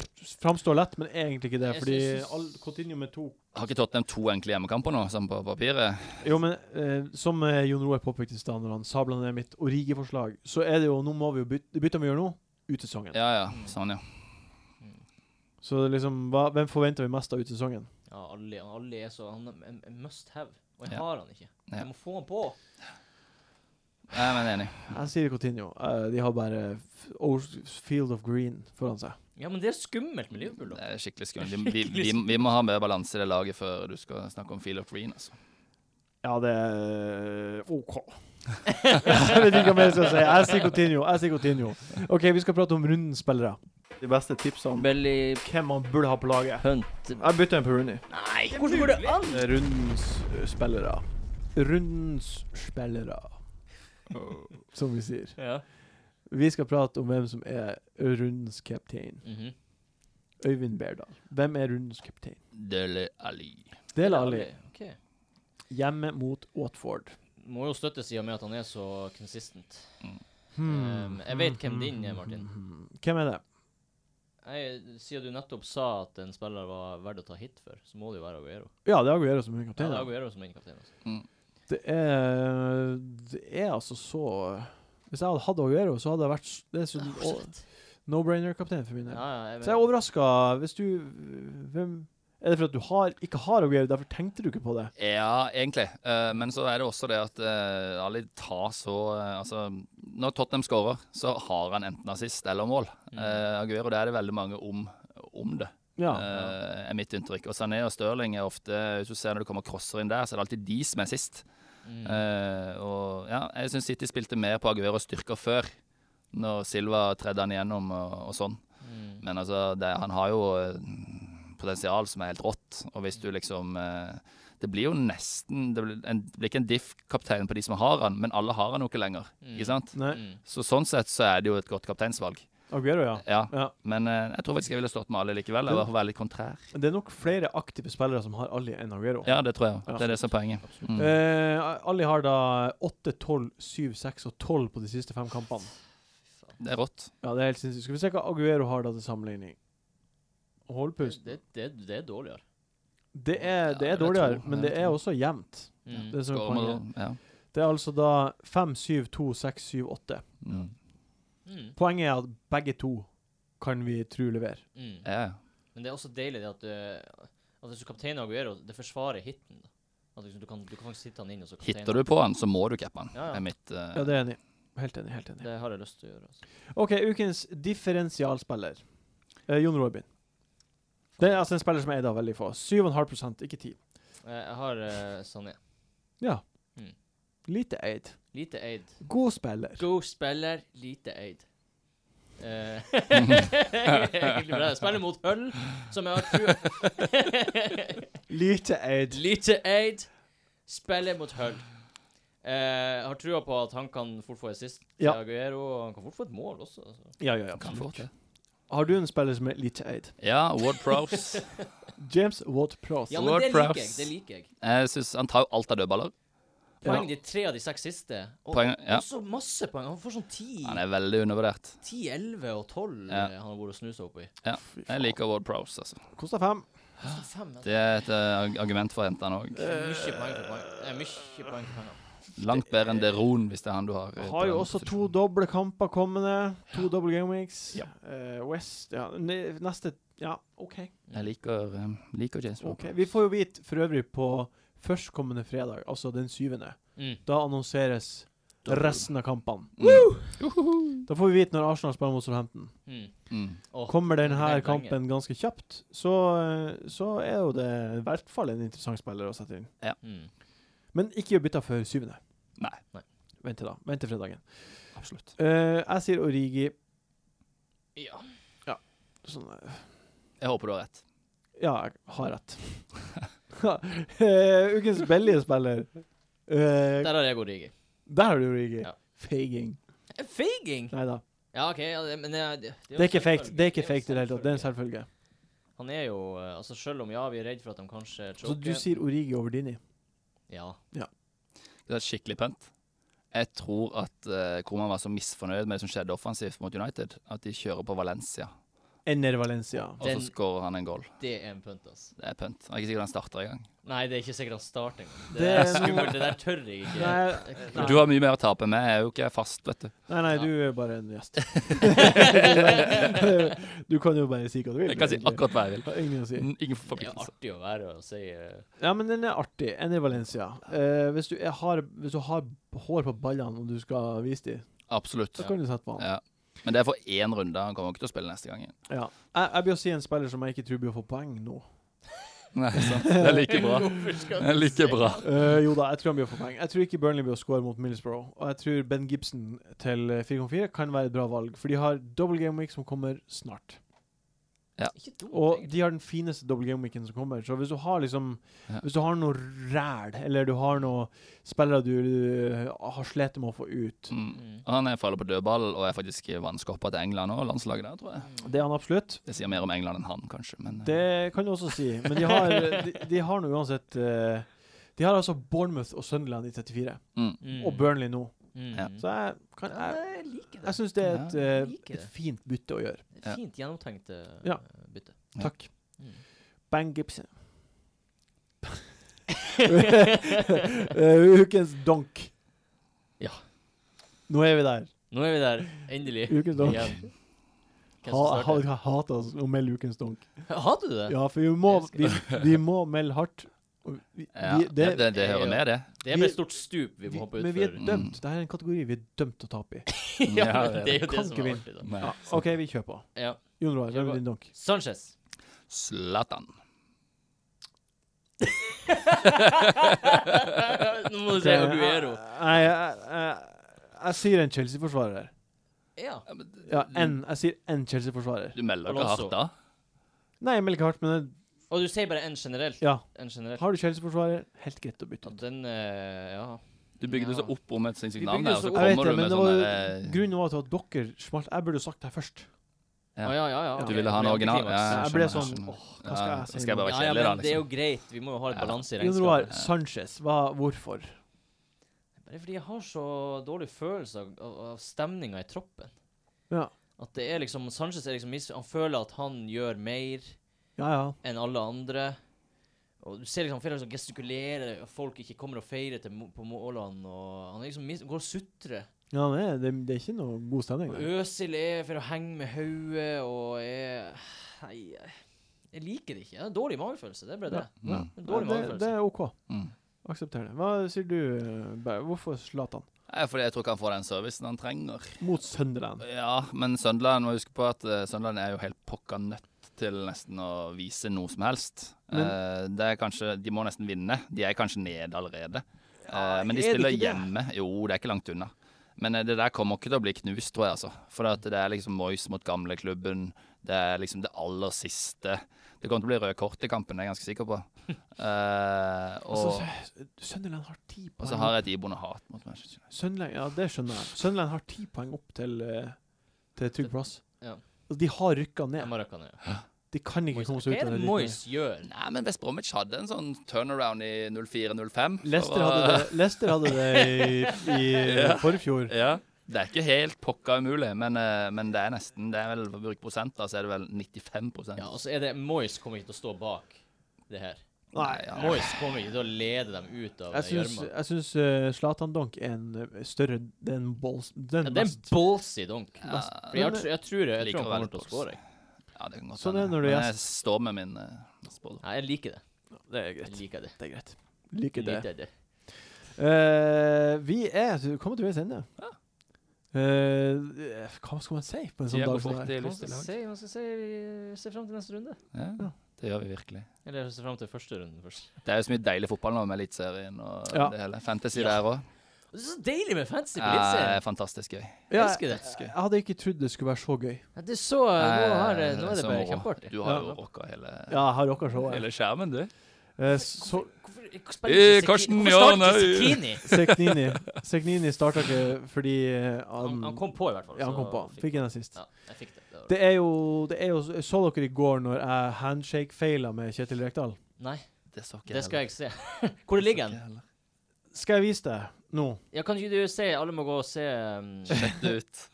Speaker 1: framstår lett, men er egentlig ikke det.
Speaker 2: Jeg
Speaker 1: Fordi
Speaker 2: synes-
Speaker 1: all, Coutinho med to
Speaker 4: Har ikke Tottenham to enkle hjemmekamper nå, sånn på papiret?
Speaker 1: Jo, men eh, som eh, Jon Roar påpekte i stad, når han sabla ned mitt Origi-forslag, så er det jo Nå må vi jo bytte, bytte vi gjør nå, ut sesongen.
Speaker 4: Ja ja, sånn ja.
Speaker 1: Så det er liksom, hva, hvem forventer vi mest av ut sesongen?
Speaker 2: Ja, alle, alle er så Han er en- en must have, og jeg
Speaker 4: Ja.
Speaker 2: har han ikke.
Speaker 4: Ja.
Speaker 2: Jeg må få han på.
Speaker 4: Nei, men enig.
Speaker 1: Jeg sier Coutinho. Eh, de har bare f- Old Field of Green foran seg.
Speaker 2: Ja, men det er skummelt med Liverpool, da.
Speaker 4: Det er skikkelig skummelt. Vi, vi, vi, vi må ha mer balanse i det laget før du skal snakke om Feel of Green, altså.
Speaker 1: Ja, det er eh, OK. jeg vet ikke hva mer jeg skal si. Jeg sier Coutinho. Jeg sier Coutinho. OK, vi skal prate om rundens spillere. De beste tipsene om
Speaker 2: Belly
Speaker 1: hvem man burde ha på laget.
Speaker 2: Hunt
Speaker 1: Jeg bytter en på Rooney. Eh,
Speaker 2: Nei, hvordan går det an?
Speaker 1: Rundens spillere. Rundens spillere. som vi sier.
Speaker 2: Ja.
Speaker 1: Vi skal prate om hvem som er rundens kaptein.
Speaker 2: Mhm.
Speaker 1: Øyvind Berdal. Hvem er rundens kaptein?
Speaker 4: Dele Ali.
Speaker 1: Del Ali
Speaker 2: Ok.
Speaker 1: hjemme mot Watford.
Speaker 2: Må jo støttes i og med at han er så consistent.
Speaker 1: Hmm.
Speaker 2: Um, jeg vet hvem din er, Martin.
Speaker 1: Hmm. Hvem er det?
Speaker 2: Jeg, siden du nettopp sa at en spiller var verdt å ta hit for, så må det jo være Aguero.
Speaker 1: Ja, det er Aguero som er
Speaker 2: Ja, det
Speaker 1: kaptein.
Speaker 2: er
Speaker 1: da.
Speaker 2: Aguero som er kaptein. Altså.
Speaker 1: Det er Det er altså så Hvis jeg hadde hatt Aguero, så hadde jeg vært s- Det er sånn no-brainer-kaptein for min
Speaker 2: Ja,
Speaker 1: del.
Speaker 2: ja, jeg
Speaker 1: Så jeg er
Speaker 2: mener-
Speaker 1: overraska hvis du Hvem Er det for at du har, ikke har Aguero, derfor tenkte du ikke på det?
Speaker 4: Ja, egentlig. Eh, men så er det også det at eh, Ali tar så eh, Altså, når Tottenham skårer, så har han enten assist eller mål.
Speaker 2: Mm.
Speaker 4: Eh, Aguero, det er det veldig mange om, om det,
Speaker 1: Ja.
Speaker 4: eh, er mitt inntrykk. Og Sané og Stirling er ofte Hvis du ser når det kommer crosser inn der, så er det alltid de som er sist.
Speaker 2: Mm.
Speaker 4: Eh, og ja, jeg syns City spilte mer på Aguero styrker før, når Silva tredde han igjennom og, og sånn.
Speaker 2: Mm.
Speaker 4: Men altså, det, han har jo eh, potensial som er helt rått. Og hvis du liksom eh, Det blir jo nesten Det blir, en, det blir ikke en diff-kaptein på de som har han, men alle har han jo ikke lenger.
Speaker 2: Mm.
Speaker 4: Ikke sant?
Speaker 1: Nei.
Speaker 2: Mm.
Speaker 4: Så sånn sett så er det jo et godt kapteinsvalg.
Speaker 1: Aguero, ja.
Speaker 4: Ja.
Speaker 1: ja.
Speaker 4: Men eh, jeg tror faktisk jeg ville stått med alle likevel. Jeg var veldig kontrær.
Speaker 1: Men det er nok flere aktive spillere som har Ali enn Aguero.
Speaker 4: Ja, det tror jeg.
Speaker 1: Ja.
Speaker 4: Det er det som er poenget.
Speaker 2: Absolutt.
Speaker 4: Mm.
Speaker 1: Eh, Ali har da 8, 12, 7, 6 og 12 på de siste fem kampene.
Speaker 2: Fy faen.
Speaker 4: Det er rått.
Speaker 1: Ja, det er helt sinnssykt. Skal vi se hva Aguero har da til sammenligning. Hold
Speaker 2: Det,
Speaker 1: pust.
Speaker 2: det, det, det er dårligere.
Speaker 1: Det er, det er
Speaker 4: Ja, det vil jeg
Speaker 1: dårligere,
Speaker 4: tro.
Speaker 1: men
Speaker 4: Det vil
Speaker 1: det
Speaker 4: jeg
Speaker 1: er
Speaker 4: tro.
Speaker 1: også jevnt.
Speaker 2: Mm.
Speaker 1: Det, som er
Speaker 4: Skårer med
Speaker 1: poenget.
Speaker 4: Ja.
Speaker 1: det er altså da 5, 7, 2, 6, 7, 8.
Speaker 4: Mm.
Speaker 2: Mm.
Speaker 1: Poenget er at begge to kan vi tro leverer.
Speaker 2: Mm.
Speaker 4: ja.
Speaker 2: Men det er også deilig det at, eh, at hvis du kapteiner Aguero, det forsvarer hiten. da. At liksom, du, kan, du kan faktisk hitte han inn og så kapteine
Speaker 4: Hitter du på han, så må du cappe han.
Speaker 2: Ja, ja.
Speaker 4: Er mitt eh,
Speaker 1: Ja, det er jeg enig. i. Helt enig. helt
Speaker 2: han.
Speaker 1: enig.
Speaker 2: Det har jeg lyst til å gjøre. Altså.
Speaker 1: OK, ukens differensialspiller. Eh, Jon Robin. Det er altså en spiller som er eid av veldig få. 7,5 ikke 10.
Speaker 2: Eh, Jeg har eh, Sané.
Speaker 1: Ja.
Speaker 2: Mm.
Speaker 1: Lite eid.
Speaker 2: Lite eid.
Speaker 1: God spiller.
Speaker 2: God spiller, lite eid. Eh, egentlig bra. Jeg Spiller mot Hull, som jeg har trua
Speaker 1: Lite eid.
Speaker 2: Lite eid. Spiller mot Hull. Eh, Jeg har trua på at han kan fort få assist til
Speaker 1: Ja.
Speaker 2: Aguero, og han kan fort få et mål også. Altså.
Speaker 1: Ja, ja, ja.
Speaker 4: kan
Speaker 1: absolutt.
Speaker 4: fort det.
Speaker 1: Har du en spiller som er lite eid?
Speaker 4: Ja, Ward Prowse.
Speaker 1: James Watt-Pross.
Speaker 2: Ja, men det liker jeg. Det liker jeg.
Speaker 4: Jeg synes han tar jo alt av dødballer.
Speaker 2: Poeng de tre av de seks siste. Og
Speaker 4: Poeng, ja.
Speaker 2: også masse poeng. Han får sånn 10,
Speaker 4: Han er veldig undervurdert.
Speaker 2: 10 11 og 12
Speaker 4: Ja.
Speaker 2: eh, han har vært og snusa oppi.
Speaker 4: Jeg liker Ward Prowse, altså.
Speaker 1: Kosta fem.
Speaker 2: Koster fem, altså.
Speaker 4: Det er et eh, arg- argument for å hente han òg.
Speaker 2: Det er mye poeng for poeng. Det er mye poeng for poeng.
Speaker 4: Langt bedre enn Deron, hvis det er han du har. eh, på
Speaker 1: Har jo
Speaker 4: den
Speaker 1: også to
Speaker 4: posisjonen.
Speaker 1: doble kamper kommende. To doble gameweeks.
Speaker 4: Ja.
Speaker 1: Eh, West ja. ne- Neste Ja, OK.
Speaker 4: Jeg liker, eh, liker James Ward.
Speaker 1: Ok, Vi får jo vite for øvrig på førstkommende fredag, altså den syvende.
Speaker 2: Mm.
Speaker 1: Da annonseres resten av kampene.
Speaker 4: Mm.
Speaker 1: Da får vi vite når Arsenal spiller mot Southampton.
Speaker 2: Mm.
Speaker 4: Mm.
Speaker 2: Åh,
Speaker 1: Kommer
Speaker 2: det
Speaker 1: denne
Speaker 2: er poenget.
Speaker 1: kampen ganske kjapt, så, eh, så er jo det i hvert fall en interessant spiller å sette inn.
Speaker 2: Mm.
Speaker 1: Men ikke bytta før syvende.
Speaker 4: Nei.
Speaker 2: Nei.
Speaker 1: Vent til da. Vent til fredagen.
Speaker 4: Absolutt.
Speaker 1: Eh, jeg sier Origi.
Speaker 2: Ja.
Speaker 1: Sånn, eh,
Speaker 4: Jeg håper du har rett.
Speaker 1: Ja, jeg har rett. Eh, ukens billige spiller. Eh,
Speaker 2: Der har jeg god rigger.
Speaker 1: der har du Origi.
Speaker 2: Ja.
Speaker 1: Feiging.
Speaker 2: Eh, Faging!
Speaker 1: Nei da.
Speaker 2: Ja, OK, ja, det, men det, er- det,
Speaker 1: Det er ikke fake.
Speaker 2: selvfølgelig.
Speaker 1: Det er ikke fake i det hele tatt. Det er en
Speaker 2: selvfølgelig.
Speaker 1: selvfølge.
Speaker 2: Han er jo eh, Altså, selv om ja, vi er redd for at han kanskje
Speaker 1: Så Altså, du
Speaker 2: choker
Speaker 1: sier Origi over Dini?
Speaker 2: Ja.
Speaker 4: Det er et skikkelig pent. Jeg tror at eh, Kroman var så misfornøyd med det som skjedde offensivt mot United, at de kjører på Valencia,
Speaker 1: Enner Valencia.
Speaker 4: og så
Speaker 2: Den-
Speaker 4: skårer han en goal.
Speaker 2: Det er en punt, ass.
Speaker 4: Det er pønt. Jeg er ikke sikker han starter engang.
Speaker 2: Nei, det er ikke sikkert han starter engang. Det,
Speaker 1: Det
Speaker 2: er
Speaker 1: er noe-
Speaker 2: skummelt. Det der tør jeg ikke.
Speaker 1: Nei, nei.
Speaker 4: Du har mye mer å tape enn meg. Jeg er jo ikke fast, vet du.
Speaker 1: Nei, nei,
Speaker 2: Ja.
Speaker 1: du er bare en gjest. du kan jo bare si hva du vil.
Speaker 4: Jeg kan si
Speaker 1: egentlig.
Speaker 4: akkurat hva jeg vil.
Speaker 1: Har Ingen å si.
Speaker 4: Ingen
Speaker 2: Det er
Speaker 4: forpliktelse.
Speaker 2: artig å være og si eh,
Speaker 1: Ja, men den er artig. Enner Valencia. Eh, hvis, du er, har, hvis du har hår på ballene og du skal vise dem,
Speaker 4: Absolutt.
Speaker 1: så kan du sette på han.
Speaker 4: Ja. Men det er for én runde. Han kommer ikke til å spille neste gang igjen.
Speaker 1: Ja. Jeg, jeg blir å si en spiller som jeg ikke tror blir å få poeng nå.
Speaker 4: Nei, sant. Det er like bra.
Speaker 2: Hvorfor skal
Speaker 4: Det er like bra.
Speaker 1: Eh, jo da, jeg tror han blir å få poeng. Jeg tror ikke Burnley blir å score mot Middlesbrough. Og jeg tror Ben Gibson til eh, 4,4 kan være et bra valg, for de har double game week som kommer snart.
Speaker 2: Ikke dumt,
Speaker 1: Og
Speaker 2: egentlig.
Speaker 1: de har den fineste double game-weeken som kommer. Så hvis du har liksom
Speaker 4: Ja.
Speaker 1: Hvis du har noe ræl, eller du har noe spillere du, du eh, har slitt med å få ut
Speaker 4: Mm.
Speaker 2: Mm.
Speaker 4: Og Han er faller på dødball og er faktisk vanskoppa til England og landslaget der, tror jeg.
Speaker 1: Det er han absolutt.
Speaker 4: Det sier mer om England enn han, kanskje. Men, eh,
Speaker 1: Det kan du også si. Men de har, de, de har nå uansett eh, De har altså Bournemouth og Sunderland i 34,
Speaker 4: mm.
Speaker 2: Mm.
Speaker 1: og Burnley nå.
Speaker 2: Mm.
Speaker 4: Ja.
Speaker 1: Så jeg, kan,
Speaker 2: Ja,
Speaker 1: jeg,
Speaker 2: nei, jeg liker det.
Speaker 1: jeg syns det er et, eh,
Speaker 2: Jeg liker det.
Speaker 1: et fint bytte å gjøre.
Speaker 4: Ja.
Speaker 2: Fint gjennomtenkt eh,
Speaker 1: Ja.
Speaker 2: bytte.
Speaker 4: Ja.
Speaker 1: Takk.
Speaker 2: Mm.
Speaker 1: Bang Gibson. Eh, Ukens donk.
Speaker 2: Ja.
Speaker 1: Nå er vi der.
Speaker 2: Nå er vi der. Endelig.
Speaker 1: Ukens donk.
Speaker 2: Igjen. Hvem
Speaker 1: Ha,
Speaker 2: som
Speaker 1: ha,
Speaker 2: starter?
Speaker 1: jeg hater oss å melde ukens donk.
Speaker 2: Hater du det?
Speaker 1: Ja, for vi må,
Speaker 2: elsker
Speaker 1: vi, vi må melde hardt. Og Vi,
Speaker 4: ja,
Speaker 1: vi,
Speaker 4: det,
Speaker 1: det,
Speaker 4: det, det hører med, det.
Speaker 2: Det er bare
Speaker 1: vi-
Speaker 2: et stort stup vi
Speaker 1: vi,
Speaker 2: må hoppe
Speaker 1: men vi er
Speaker 2: utfor.
Speaker 4: Mm.
Speaker 1: dømt. Dette er en kategori vi er dømt til å tape i.
Speaker 2: ja,
Speaker 4: Ja,
Speaker 2: men
Speaker 4: det
Speaker 2: det er jo
Speaker 1: kan
Speaker 2: det som
Speaker 1: ikke
Speaker 2: er
Speaker 1: vinne.
Speaker 2: artig, da.
Speaker 4: Men-
Speaker 1: Ja, OK, vi kjører på.
Speaker 2: Ja.
Speaker 1: Jon Roar,
Speaker 2: Kjør
Speaker 1: hvem
Speaker 2: på.
Speaker 1: er din donk?
Speaker 2: Sanchez.
Speaker 4: Zlatan.
Speaker 2: Nå må du si Aguero.
Speaker 1: Nei, jeg, jeg, jeg sier en Chelsea-forsvarer.
Speaker 2: Ja.
Speaker 1: Ja, en, jeg sier en Chelsea-forsvarer.
Speaker 4: Du melder dere
Speaker 2: Alonso.
Speaker 4: hardt da?
Speaker 1: Nei, jeg melder ikke hardt, men det-
Speaker 2: Og du sier bare en generelt.
Speaker 1: ja.
Speaker 2: En generelt.
Speaker 1: Har du Chelsea-forsvarer, helt greit å bytte
Speaker 2: Og
Speaker 1: ut.
Speaker 2: den eh, Ja.
Speaker 4: Du bygde
Speaker 2: Ja.
Speaker 4: så opp om et sinnssykt
Speaker 2: Vi
Speaker 4: navn
Speaker 2: bygde
Speaker 4: her, og
Speaker 2: så
Speaker 4: så
Speaker 2: opp-
Speaker 1: Jeg vet
Speaker 4: kommer
Speaker 1: det,
Speaker 4: du
Speaker 1: men
Speaker 4: med
Speaker 1: det
Speaker 4: sånn
Speaker 1: var
Speaker 4: derre
Speaker 1: grunnen var til at dere smalt Jeg burde jo sagt det her først.
Speaker 4: Ja.
Speaker 2: Å, ja, ja, ja.
Speaker 1: Du
Speaker 2: ok.
Speaker 4: ville ha en
Speaker 2: Men
Speaker 4: original,
Speaker 2: antiklimaks.
Speaker 4: ja,
Speaker 1: Jeg
Speaker 4: skjønner,
Speaker 1: ble
Speaker 4: jeg
Speaker 1: sånn
Speaker 4: skjønner.
Speaker 1: Åh, hva skal
Speaker 4: Ja,
Speaker 1: jeg si?
Speaker 4: skal
Speaker 1: nå?
Speaker 4: jeg bare
Speaker 2: Ja, ja,
Speaker 4: kjedelig, da,
Speaker 2: men det er jo
Speaker 4: liksom.
Speaker 2: greit. Vi må jo ha et
Speaker 4: Ja.
Speaker 2: balanse i
Speaker 1: Jon Roar,
Speaker 2: regnskapet.
Speaker 1: Sanchez, hva, hvorfor?
Speaker 2: Bare fordi jeg har så dårlig følelse av, av, av stemninga i troppen.
Speaker 1: Ja.
Speaker 2: At det er liksom Sanchez er liksom mis Han føler at han gjør mer
Speaker 1: Ja, ja.
Speaker 2: enn alle andre. Og du ser liksom flere som gestikulerer, og folk ikke kommer og feirer til, mo- på målene. Og han er liksom mis går og sutrer.
Speaker 1: ja det, er- det, det er ikke noe god stemning.
Speaker 2: Og
Speaker 1: der.
Speaker 2: Øsil er for å henge med hodet og er Nei, jeg- jeg liker det ikke. Jeg har dårlig magefølelse. Det er bare det.
Speaker 1: Ja.
Speaker 2: En dårlig
Speaker 1: det,
Speaker 2: magefølelse.
Speaker 1: det er OK.
Speaker 4: Mm. Mm.
Speaker 1: Aksepter det. Hva sier du, eh, Berg? Hvorfor Zlatan?
Speaker 4: Nei, Fordi jeg tror ikke han får den servicen han trenger.
Speaker 1: Mot Sunderland.
Speaker 4: Ja, men Sunderland må huske på at eh, Sunderland er jo helt pokka nødt til nesten å vise noe som helst.
Speaker 1: Men-
Speaker 4: Eh, det er kanskje, De må nesten vinne. De er kanskje nede allerede. Eh, men
Speaker 1: er
Speaker 4: de
Speaker 1: det
Speaker 4: spiller
Speaker 1: ikke det?
Speaker 4: hjemme. Jo, det er ikke langt unna. Men eh, det der kommer ikke til å bli knust, tror jeg. altså. For at det er liksom Moyes mot gamleklubben. Det er liksom det aller siste. Det kommer til å bli røde kort i kampen, det er jeg ganske sikker på. Eh, og,
Speaker 1: Altså, S- Sunderland har ti
Speaker 4: og så
Speaker 1: poeng.
Speaker 4: har
Speaker 1: opp.
Speaker 4: jeg et iboende hat mot Manchester United.
Speaker 1: Sunderland, ja, det skjønner jeg. Sunderland har ti poeng opp til, eh, til trygg plass.
Speaker 2: Ja.
Speaker 1: Altså, de har rykka
Speaker 2: Jeg
Speaker 1: ned.
Speaker 2: må røkke ned.
Speaker 1: De kan ikke komme
Speaker 2: Moyes-
Speaker 1: seg
Speaker 2: Hva
Speaker 1: ut
Speaker 2: er
Speaker 1: av
Speaker 2: det
Speaker 1: det.
Speaker 2: Moyes gjør?
Speaker 4: Nei, men West Bromwich hadde en sånn turnaround i 04-05.
Speaker 1: Lester hadde det, Leicester hadde det i, i forfjor.
Speaker 4: Ja. Det er ikke helt pokka umulig, men, eh, men det er nesten Det er vel for å bruke prosenter, så er det vel 95
Speaker 2: Ja, og så er det Moyes kommer ikke til å stå bak det her.
Speaker 4: Nei, ja.
Speaker 2: Moyes kommer ikke til å lede dem ut av
Speaker 1: Jeg
Speaker 2: det
Speaker 1: syns,
Speaker 2: gjørma.
Speaker 1: jeg syns eh, Zlatan Donk er en eh, større Det er en balls... Det er
Speaker 2: Ja,
Speaker 1: en
Speaker 2: det er en
Speaker 1: mest-
Speaker 2: ballsy dunk.
Speaker 4: Ja,
Speaker 2: For Jeg, tr- jeg tror, jeg, jeg
Speaker 4: Liker
Speaker 2: tror han
Speaker 4: å være
Speaker 2: kommer til å
Speaker 4: litt
Speaker 2: skåre.
Speaker 4: Ja, det kan godt
Speaker 1: Sånn er det når du
Speaker 4: Men
Speaker 1: er
Speaker 4: jeg står med min eh, spådom.
Speaker 2: Nei, jeg liker det.
Speaker 1: Det er
Speaker 2: Jeg
Speaker 1: greit.
Speaker 2: liker det.
Speaker 1: Det er greit.
Speaker 2: Jeg
Speaker 1: Liker det.
Speaker 2: liker det.
Speaker 1: Eh, vi er kommet til veis ende. Eh, hva skal man si på en sånn
Speaker 4: Tida
Speaker 1: dag
Speaker 4: går
Speaker 1: som
Speaker 4: fort
Speaker 1: det
Speaker 4: i
Speaker 2: Hva
Speaker 4: lyst
Speaker 2: skal jeg
Speaker 4: til lag.
Speaker 2: si? Hva skal jeg si? Vi ser fram til neste runde.
Speaker 4: Ja, det gjør vi virkelig.
Speaker 2: Eller jeg ser fram til første runden først.
Speaker 4: Det er jo så mye deilig fotball nå med Eliteserien og
Speaker 1: Ja.
Speaker 4: det hele. Fantasy
Speaker 2: Ja.
Speaker 4: der òg.
Speaker 2: Og Det er så deilig med fancy på
Speaker 4: Ja,
Speaker 2: Eliteserien.
Speaker 4: fantastisk gøy.
Speaker 1: Ja,
Speaker 2: Jeg elsker det.
Speaker 1: Jeg hadde ikke trodd det skulle være så gøy.
Speaker 2: Ja, Det er så Nå, har,
Speaker 4: Eh,
Speaker 2: nå er det
Speaker 4: så
Speaker 2: bare
Speaker 4: moro.
Speaker 2: kjempeartig.
Speaker 4: Du har
Speaker 1: Ja.
Speaker 4: jo rocka hele,
Speaker 1: Ja, jeg har dere så
Speaker 4: hele skjermen, du.
Speaker 1: Eh, så
Speaker 2: Hvorfor spiller
Speaker 4: Eh,
Speaker 2: ikke Sekini-
Speaker 4: Karsten,
Speaker 2: Hvorfor
Speaker 4: ja,
Speaker 2: starter ikke Sekini?
Speaker 4: nei.
Speaker 1: Seknini Seknini starta ikke fordi eh, han,
Speaker 2: Han, han kom på, i hvert fall.
Speaker 1: Ja, han
Speaker 2: så
Speaker 1: kom på. Fikk en assist.
Speaker 2: Ja, jeg fikk det. det, var-
Speaker 1: Det er jo, det er jo jeg Så dere i går når jeg handshake-feila med Kjetil Rekdal?
Speaker 2: Nei,
Speaker 4: Det så ikke
Speaker 2: det skal jeg
Speaker 4: heller.
Speaker 2: ikke se. Hvor ligger
Speaker 4: Så
Speaker 2: han?
Speaker 4: ikke heller.
Speaker 1: Skal jeg vise deg nå?
Speaker 2: Ja, kan ikke du se? Alle må gå og se. Um,
Speaker 4: Sjekk det ut.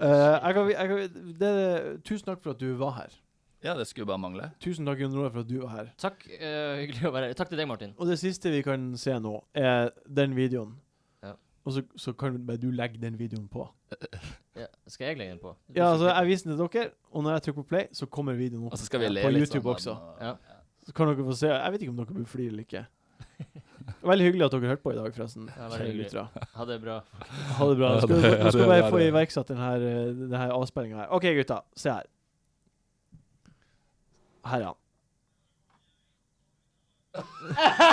Speaker 1: Eh, jeg kan, vi- jeg kan, det, er- tusen takk for at du var her.
Speaker 4: Ja, det skulle bare mangle.
Speaker 1: Tusen takk, Jon Roar, for at du var her.
Speaker 2: takk. eh, hyggelig å være her. Takk til deg, Martin.
Speaker 1: Og det siste vi kan se nå, er den videoen.
Speaker 2: Ja.
Speaker 1: Og så, så kan bare du legge den videoen på.
Speaker 2: Ja, skal jeg legge den på?
Speaker 1: Ja,
Speaker 2: Du skal
Speaker 1: altså
Speaker 2: klippe.
Speaker 1: Jeg viser den til dere, og når jeg trykker på play, så kommer videoen
Speaker 4: Og
Speaker 1: opp.
Speaker 2: Altså-
Speaker 4: så skal vi
Speaker 1: Ja,
Speaker 4: le
Speaker 1: på
Speaker 4: litt
Speaker 1: YouTube
Speaker 4: sammen,
Speaker 1: også.
Speaker 4: og-
Speaker 2: Ja.
Speaker 1: Så kan dere få se. Jeg vet ikke om dere burde flire eller ikke. Veldig hyggelig at dere hørte på i dag, forresten.
Speaker 2: Ja, veldig
Speaker 1: kjære
Speaker 2: hyggelig.
Speaker 1: lyttere.
Speaker 2: Ha det bra.
Speaker 1: Ha det bra.
Speaker 4: Ja,
Speaker 1: Nå
Speaker 4: det-
Speaker 1: skal,
Speaker 4: ja,
Speaker 1: nå
Speaker 4: det-
Speaker 1: skal vi
Speaker 4: ja,
Speaker 1: bare få
Speaker 4: det-
Speaker 1: iverksatt denne avspillinga her. OK, gutta. Se her. Her er han.